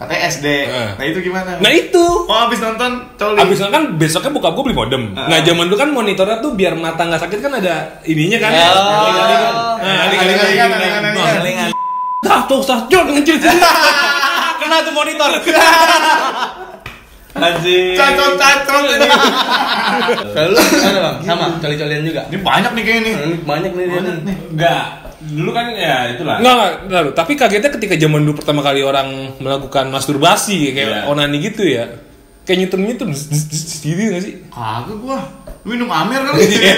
[SPEAKER 2] katanya SD.
[SPEAKER 3] Heeh.
[SPEAKER 2] Nah, itu gimana?
[SPEAKER 3] nah itu
[SPEAKER 2] oh, abis nonton coli.
[SPEAKER 3] abis itu kan besoknya buka gue beli modem nah zaman dulu kan monitornya tuh biar mata nggak sakit kan ada ininya kan
[SPEAKER 2] Ah.
[SPEAKER 1] Oh.
[SPEAKER 3] Nah,
[SPEAKER 2] Alingan-alingan,
[SPEAKER 3] Nah,
[SPEAKER 2] alingan-alingan.
[SPEAKER 3] Tah, tuh, tah, jol, ngencil, sini. Kena tuh monitor.
[SPEAKER 4] Anjing.
[SPEAKER 2] Cacot-cacot ini.
[SPEAKER 1] Kalau lu ada bang? Sama, coli-colian juga.
[SPEAKER 2] Ini banyak nih kayaknya nih.
[SPEAKER 1] Hmm, Banyak nih dia nih.
[SPEAKER 4] Enggak. Dulu kan ya itulah.
[SPEAKER 3] Enggak, enggak, enggak, enggak. tapi kagetnya ketika zaman dulu pertama kali orang melakukan masturbasi kayak
[SPEAKER 4] Iya.
[SPEAKER 3] onani gitu ya. Kayak nyetrum-nyetrum zzz, zzz, zzz, gitu nggak sih?
[SPEAKER 2] Kagak gua. Lu minum Amer kali.
[SPEAKER 3] Iya.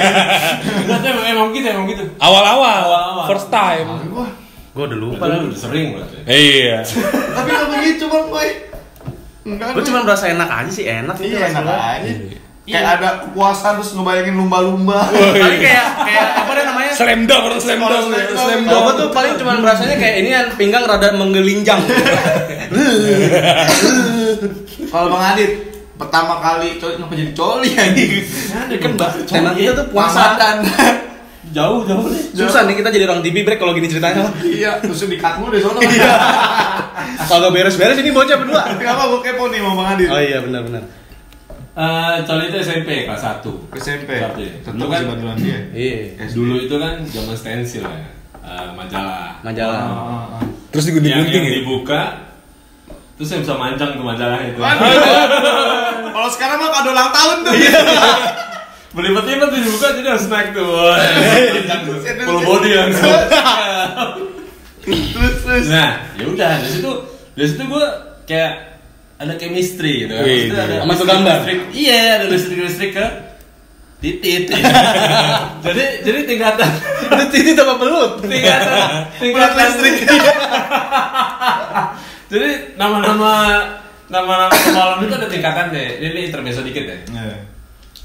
[SPEAKER 4] Enggak, emang, emang gitu, emang gitu. Awal-awal.
[SPEAKER 3] Awal-awal, first time.
[SPEAKER 2] Kagak gua.
[SPEAKER 1] Gua udah lupa
[SPEAKER 4] Padahal
[SPEAKER 1] lah.
[SPEAKER 4] udah sering banget. ya.
[SPEAKER 3] Iya.
[SPEAKER 2] Tapi enggak begitu, Bang, boy. Enggak.
[SPEAKER 1] Gua cuma merasa enak aja sih, enak gitu
[SPEAKER 2] iya enak
[SPEAKER 1] rasanya.
[SPEAKER 2] aja. Kayak ada puasa terus ngebayangin lumba-lumba.
[SPEAKER 1] Tapi kayak kayak apa dia namanya?
[SPEAKER 3] Slam dunk, orang slam dunk,
[SPEAKER 2] Orang slam dunk.
[SPEAKER 3] slam
[SPEAKER 1] Kalau
[SPEAKER 3] dunk.
[SPEAKER 1] gua tuh paling cuma
[SPEAKER 2] Hmm.
[SPEAKER 1] merasanya kayak ini kan pinggang rada menggelinjang.
[SPEAKER 2] Kalau Bang Adit pertama kali coli ngapa jadi coli ya? anjing?
[SPEAKER 1] kan mbak, tenang kita tuh puasa.
[SPEAKER 2] Ramadan.
[SPEAKER 4] Jauh, jauh deh.
[SPEAKER 1] Susah nih kita jadi orang TV break kalau gini ceritanya.
[SPEAKER 2] iya, terus dikat mulu deh sono. Iya.
[SPEAKER 1] Kalau beres-beres ini bocah berdua.
[SPEAKER 2] Kenapa gue kepo nih sama Bang Adit?
[SPEAKER 1] Oh iya benar-benar.
[SPEAKER 4] Eh, Coli itu SMP kelas 1
[SPEAKER 2] SMP. Tetap
[SPEAKER 4] Dulu
[SPEAKER 2] kan
[SPEAKER 4] kan
[SPEAKER 2] bantuan dia.
[SPEAKER 1] Iya.
[SPEAKER 4] dulu itu kan zaman stensil ya. Eh, majalah.
[SPEAKER 1] Majalah.
[SPEAKER 2] Ah, ah.
[SPEAKER 3] Terus
[SPEAKER 4] Yang,
[SPEAKER 3] digunting-gunting
[SPEAKER 4] yang
[SPEAKER 3] ya.
[SPEAKER 4] dibuka terus yang bisa manjang tuh majalah itu.
[SPEAKER 2] Waduh. Ah. Kalau sekarang mah kado ulang tahun tuh. Iya.
[SPEAKER 4] Berlipat-lipat tuh dibuka jadi harus naik tuh. Manjang tuh. Full body langsung.
[SPEAKER 2] Terus terus.
[SPEAKER 4] Nah, ya udah dari situ dari situ gue kayak ada chemistry gitu. kan.
[SPEAKER 3] Wih,
[SPEAKER 4] Maksudnya ada
[SPEAKER 1] sama tuh gambar.
[SPEAKER 4] listrik- Iya, ada listrik-listrik ke titit. jadi jadi tingkatan
[SPEAKER 1] Itu titik sama belut.
[SPEAKER 4] tingkatan
[SPEAKER 2] Bulat
[SPEAKER 4] tingkatan
[SPEAKER 2] listrik.
[SPEAKER 4] Jadi nama-nama nama-nama kemaluan itu ada tingkatannya. Ini, ini intermezzo dikit ya.
[SPEAKER 2] Iya.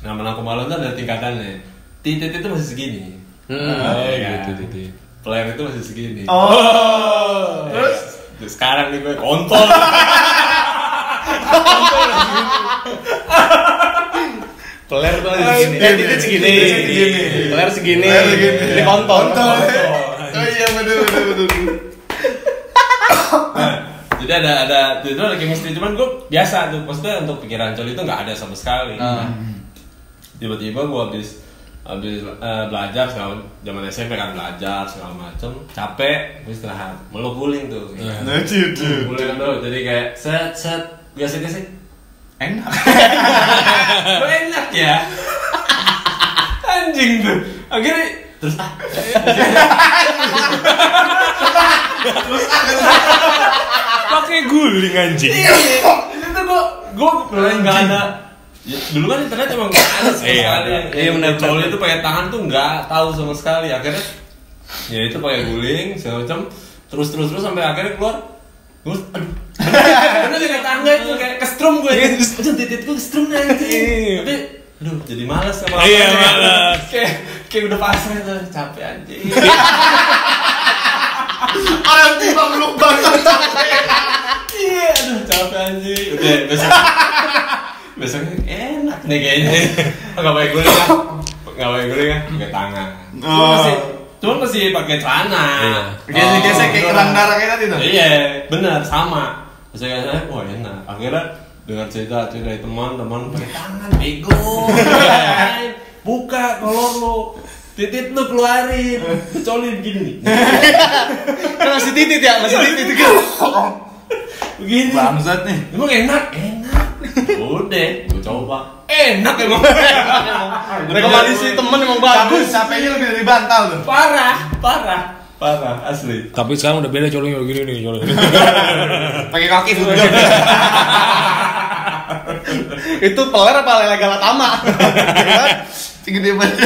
[SPEAKER 4] Nama-nama kemaluan itu ada tingkatannya. Titit itu masih segini.
[SPEAKER 1] Hmm.
[SPEAKER 4] Iya kan?
[SPEAKER 3] gitu, gitu, gitu.
[SPEAKER 4] Player itu masih segini.
[SPEAKER 2] Oh.
[SPEAKER 4] Terus terus sekarang nih gue kontol.
[SPEAKER 1] Peler tuh lagi segini.
[SPEAKER 2] Iya,
[SPEAKER 1] titik
[SPEAKER 2] segini.
[SPEAKER 1] segini.
[SPEAKER 2] Segini.
[SPEAKER 1] Peler segini.
[SPEAKER 2] Peler segini.
[SPEAKER 1] Ini kontol.
[SPEAKER 2] Kontol. Oh iya benar benar benar.
[SPEAKER 4] Nah, Jadi ada ada itu ada chemistry cuman gue biasa tuh maksudnya untuk pikiran coli itu nggak ada sama sekali. Nah,
[SPEAKER 1] Ah.
[SPEAKER 4] Tiba-tiba gue habis habis eh, belajar segala zaman SMP kan belajar segala macem capek gue istirahat meluk guling tuh
[SPEAKER 2] Nah, gitu.
[SPEAKER 4] guling kan tuh jadi kayak set set biasa gesek
[SPEAKER 2] Enak.
[SPEAKER 4] Lo enak ya anjing tuh akhirnya terus ah
[SPEAKER 3] Pakai guling anjing.
[SPEAKER 4] itu tuh gue gue beneran nggak ada Ya, dulu kan internet emang nggak ada
[SPEAKER 3] Iya.
[SPEAKER 4] sama sekali
[SPEAKER 1] Iya,
[SPEAKER 4] yang
[SPEAKER 1] benar,
[SPEAKER 4] coli
[SPEAKER 1] benar.
[SPEAKER 4] itu pakai tangan tuh nggak tahu sama sekali akhirnya ya itu pakai guling segala macam terus terus terus sampai akhirnya keluar terus aduh karena kayak tangga itu kayak kestrum gue aduh titik gue kestrum nanti
[SPEAKER 3] Iya.
[SPEAKER 4] tapi aduh jadi malas sama
[SPEAKER 3] Iya,
[SPEAKER 4] apanya.
[SPEAKER 3] malas.
[SPEAKER 4] kayak kayak udah pasrah tuh capek anjing
[SPEAKER 2] Orang tiba meluk banget.
[SPEAKER 4] iya aduh capek anjing udah besok besoknya enak nih kayaknya nggak pakai guling kan nggak pakai guling kan pakai tangan Cuman
[SPEAKER 2] Oh.
[SPEAKER 4] masih cuman masih pakai celana
[SPEAKER 2] Gesek-gesek kayak
[SPEAKER 4] Oh,
[SPEAKER 2] kerang darah kayak tadi tuh.
[SPEAKER 4] iya benar sama terus saya kata wah enak akhirnya dengar cerita cerita dari teman-teman pakai tangan bego buka kolor lo titit lu keluarin colin gini
[SPEAKER 1] Kan masih titik ya, masih titik.
[SPEAKER 4] begini
[SPEAKER 2] Bangsat nih.
[SPEAKER 4] Emang enak? Enak. Udah, gue gue coba enak emang rekomendasi temen emang
[SPEAKER 2] Bagus.
[SPEAKER 4] bagus
[SPEAKER 2] Capeknya lebih dari bantal tuh.
[SPEAKER 4] parah parah parah asli
[SPEAKER 3] Tapi sekarang udah beda colongnya udah gini nih colongnya.
[SPEAKER 2] Pakai kaki tuh. Itu peler apa lela galatama? Gede banget.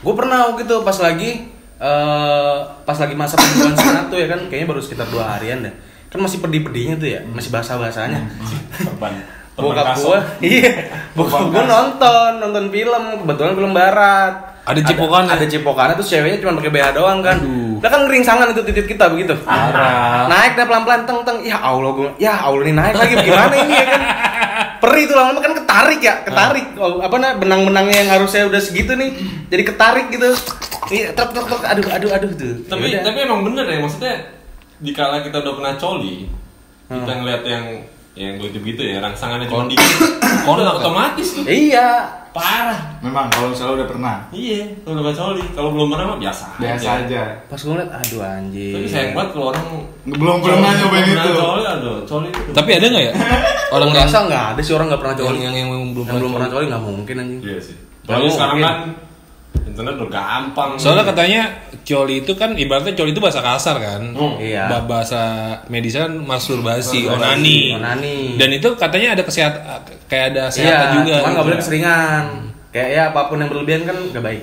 [SPEAKER 1] gue pernah waktu itu pas lagi eh pas lagi masa pembukaan sana tuh ya kan kayaknya baru sekitar dua harian dah kan masih pedih-pedihnya tuh ya masih bahasa-bahasanya
[SPEAKER 4] teman
[SPEAKER 1] bokap gue iya bokap gue nonton nonton film kebetulan film barat
[SPEAKER 3] Ada cipokannya.
[SPEAKER 1] ada, cipokannya terus ceweknya cuma pakai BH doang kan Lah kan geringsangan itu titik kita begitu naik dah pelan-pelan teng teng ya Allah gue ya Allah ini naik lagi gimana ini ya kan perih tuh lama-lama kan ketarik ya ketarik
[SPEAKER 3] Ah.
[SPEAKER 1] Oh, apa nah benang-benangnya yang harusnya udah segitu nih jadi ketarik gitu iya truk truk truk aduh aduh aduh tuh
[SPEAKER 4] tapi
[SPEAKER 1] Yaudah.
[SPEAKER 4] tapi emang bener ya maksudnya dikala kita udah pernah coli kita ngeliat yang yang begitu gitu ya rangsangannya cuma dikit udah otomatis tuh
[SPEAKER 1] iya
[SPEAKER 4] parah
[SPEAKER 2] Memang kalau misalnya udah pernah,
[SPEAKER 4] iya kalau udah coli kalau belum pernah mah biasa
[SPEAKER 2] biasa aja.
[SPEAKER 1] pas gue ngeliat aduh anjing
[SPEAKER 4] tapi sayang banget kalau orang
[SPEAKER 2] Belum pernah
[SPEAKER 4] coli-
[SPEAKER 2] nyobain
[SPEAKER 4] pernah
[SPEAKER 2] itu.
[SPEAKER 4] coli aduh coli itu
[SPEAKER 3] Tapi ada nggak ya orang
[SPEAKER 1] orang
[SPEAKER 3] yang
[SPEAKER 1] rasa nggak ada sih orang nggak pernah
[SPEAKER 3] yang
[SPEAKER 1] coli
[SPEAKER 3] yang, yang belum
[SPEAKER 1] yang belum pernah
[SPEAKER 3] pernah?
[SPEAKER 1] coli nggak mungkin anjing
[SPEAKER 4] iya sih
[SPEAKER 1] Nggak
[SPEAKER 4] Apalagi sekarang
[SPEAKER 1] mungkin.
[SPEAKER 4] kan internet udah gampang
[SPEAKER 3] Soalnya kan- katanya coli itu kan ibaratnya coli itu bahasa kasar kan.
[SPEAKER 4] Hmm.
[SPEAKER 1] Iya.
[SPEAKER 3] Ba- Bahasa medisnya kan masturbasi, onani.
[SPEAKER 1] Onani.
[SPEAKER 3] Dan itu katanya ada kesehatan kayak ada
[SPEAKER 1] Hmm. Iya,
[SPEAKER 3] kesehatan juga.
[SPEAKER 1] cuman
[SPEAKER 3] gitu
[SPEAKER 1] nggak boleh
[SPEAKER 3] ya.
[SPEAKER 1] keseringan. Kayak ya apapun yang berlebihan kan nggak baik.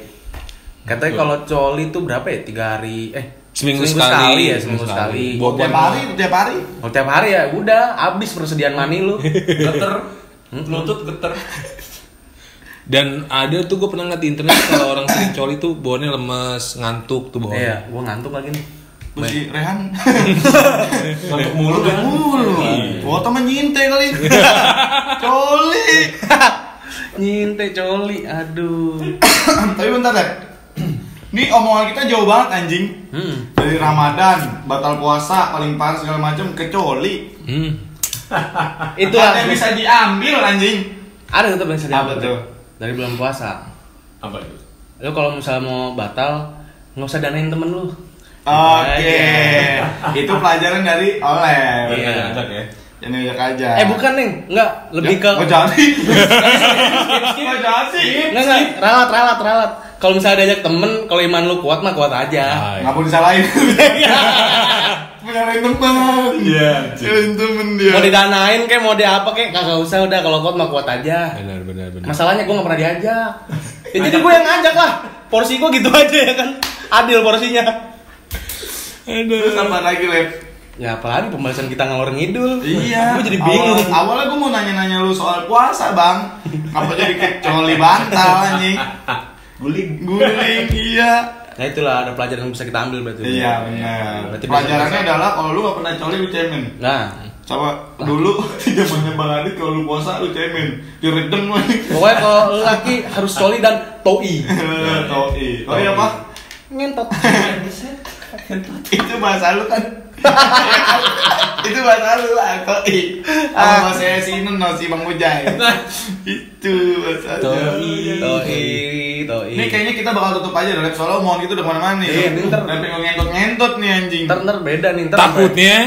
[SPEAKER 1] Katanya kalau coli itu berapa ya? Tiga hari, eh
[SPEAKER 3] Seminggu sekali.
[SPEAKER 1] ya seminggu sekali.
[SPEAKER 3] Buat-
[SPEAKER 2] Tiap hari, tiap hari.
[SPEAKER 1] Kalau tiap hari ya udah habis persediaan mani lu.
[SPEAKER 4] geter lutut geter
[SPEAKER 3] Dan ada tuh gue pernah ngeliat di internet kalau orang sering coli tuh bawahnya lemes, ngantuk tuh bawahnya.
[SPEAKER 1] Iya, gua ngantuk lagi nih.
[SPEAKER 2] Terus si Rehan.
[SPEAKER 4] ngantuk mulu kan
[SPEAKER 2] Mulu. Oh, temen nyinte kali. Coli.
[SPEAKER 1] Nyinte coli, aduh.
[SPEAKER 2] Tapi bentar deh. Ini omongan kita jauh banget anjing.
[SPEAKER 1] Hmm.
[SPEAKER 2] Dari Ramadan, batal puasa, paling parah segala macam ke coli.
[SPEAKER 3] Hmm.
[SPEAKER 1] Itu
[SPEAKER 2] Ada yang bisa diambil anjing.
[SPEAKER 1] Ada tetap yang bisa
[SPEAKER 2] Apa
[SPEAKER 1] diambil.
[SPEAKER 2] tuh?
[SPEAKER 1] Dari bulan puasa.
[SPEAKER 4] apa itu
[SPEAKER 1] Lu kalau misalnya mau batal, nggak usah danain temen lu.
[SPEAKER 2] Oke.
[SPEAKER 1] Iya.
[SPEAKER 2] Itu pelajaran dari Oleh.
[SPEAKER 1] Iya.
[SPEAKER 4] ngajak ya
[SPEAKER 2] Jangan ngajak aja.
[SPEAKER 1] Eh bukan nih, nggak lebih ke
[SPEAKER 2] Oh, jadi. Oh, jadi.
[SPEAKER 1] Enggak enggak, ralat ralat ralat. Kalau misalnya diajak temen, kalau iman lu kuat mah kuat aja.
[SPEAKER 3] Hai.
[SPEAKER 2] Enggak mau disalahin.
[SPEAKER 1] Iya.
[SPEAKER 2] Benerin temen.
[SPEAKER 4] iya
[SPEAKER 2] Benerin temen dia.
[SPEAKER 1] Mau didanain kayak mau di apa kayak kagak usah udah kalau kuat mah kuat aja.
[SPEAKER 3] Benar benar benar.
[SPEAKER 1] Masalahnya gua nggak pernah diajak. Ya, jadi gua yang ngajak lah. Porsi gua gitu aja ya kan. Adil porsinya.
[SPEAKER 2] Terus apa lagi, Lep?
[SPEAKER 1] Ya apalagi pembahasan kita ngalor ngidul.
[SPEAKER 2] Iya.
[SPEAKER 1] Gua jadi bingung.
[SPEAKER 2] Awal- awalnya gue mau nanya-nanya lu soal puasa, Bang. Kenapa jadi kecoli bantal anjing? Guling. Guling, iya.
[SPEAKER 1] Nah itulah ada pelajaran yang bisa kita ambil berarti.
[SPEAKER 2] Iya, benar.
[SPEAKER 1] Berarti
[SPEAKER 2] Pelajarannya adalah kalau lu gak pernah coli lu cemen.
[SPEAKER 1] Nah,
[SPEAKER 2] Coba dulu zamannya Bang Adit kalau lu puasa lu cemen. Diredeng lu.
[SPEAKER 1] pokoknya kalau lelaki harus solid dan toi.
[SPEAKER 2] Toi. Oh iya, Pak.
[SPEAKER 1] Ngentot.
[SPEAKER 2] Itu bahasa lu kan. itu bahasa lu lah, toi. Sama saya sinen no si Bang Ujai. itu bahasa
[SPEAKER 1] Toi, toi, toi.
[SPEAKER 2] Iya, Ini kayaknya kita bakal tutup aja dari soalnya omongan kita udah kemana-mana nih.
[SPEAKER 1] Iya, pinter.
[SPEAKER 2] Sampai ngentut-ngentut nih anjing.
[SPEAKER 1] ntar ntar beda nih ntar
[SPEAKER 3] Takutnya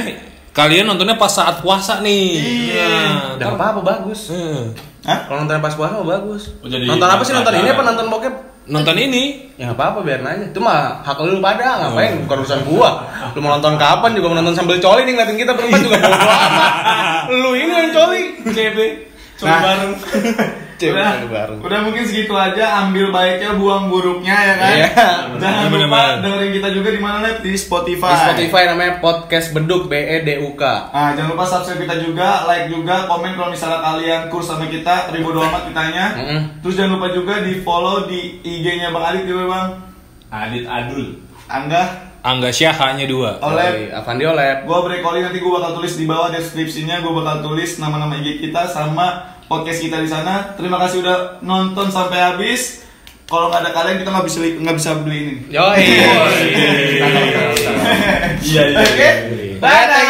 [SPEAKER 3] kalian nontonnya pas saat puasa nih.
[SPEAKER 2] Iya.
[SPEAKER 3] Nah,
[SPEAKER 1] Gak
[SPEAKER 3] ntar-
[SPEAKER 1] apa-apa bagus.
[SPEAKER 3] Hmm.
[SPEAKER 2] Hah?
[SPEAKER 1] Kalau nonton pas puasa mah bagus.
[SPEAKER 4] Oh, jadi
[SPEAKER 1] nonton apa sih nonton ini apa
[SPEAKER 4] pelajaran.
[SPEAKER 1] nonton bokep?
[SPEAKER 3] Nonton ini
[SPEAKER 1] Ya nggak apa-apa biarin aja. Itu mah hak lu pada ngapain bukan urusan gua. Lu mau nonton kapan juga mau nonton sambil coli nih ngeliatin kita berempat juga bodo amat. Lu ini yang coli.
[SPEAKER 4] CB coba
[SPEAKER 2] Nah.
[SPEAKER 4] bareng
[SPEAKER 1] Cewek
[SPEAKER 2] udah,
[SPEAKER 1] satu bareng.
[SPEAKER 2] udah mungkin segitu aja ambil baiknya buang buruknya ya kan
[SPEAKER 1] Iya.
[SPEAKER 2] jangan
[SPEAKER 3] Bener-bener.
[SPEAKER 2] lupa dengerin kita juga di mana Lep? di Spotify
[SPEAKER 1] Di Spotify namanya podcast beduk B E D U K.
[SPEAKER 2] Nah, jangan lupa subscribe kita juga, like juga, komen kalau misalnya kalian kurs sama kita, ribu amat kitanya.
[SPEAKER 1] Mm-mm.
[SPEAKER 2] Terus jangan lupa juga di follow di IG-nya Bang Adit juga Bang.
[SPEAKER 4] Adit Adul
[SPEAKER 2] Angga,
[SPEAKER 3] Angga Syah hanya dua.
[SPEAKER 2] Oleh,
[SPEAKER 1] Oleh Avandi Oleh.
[SPEAKER 2] gua Brekoli nanti gua bakal tulis di bawah deskripsinya, gua bakal tulis nama-nama IG kita sama podcast kita di sana. Terima kasih udah nonton sampai habis. Kalau nggak ada kalian kita nggak bisa nggak bisa beli ini.
[SPEAKER 1] Yoi.
[SPEAKER 4] iya iya
[SPEAKER 2] Oke.
[SPEAKER 4] iya
[SPEAKER 2] Bye.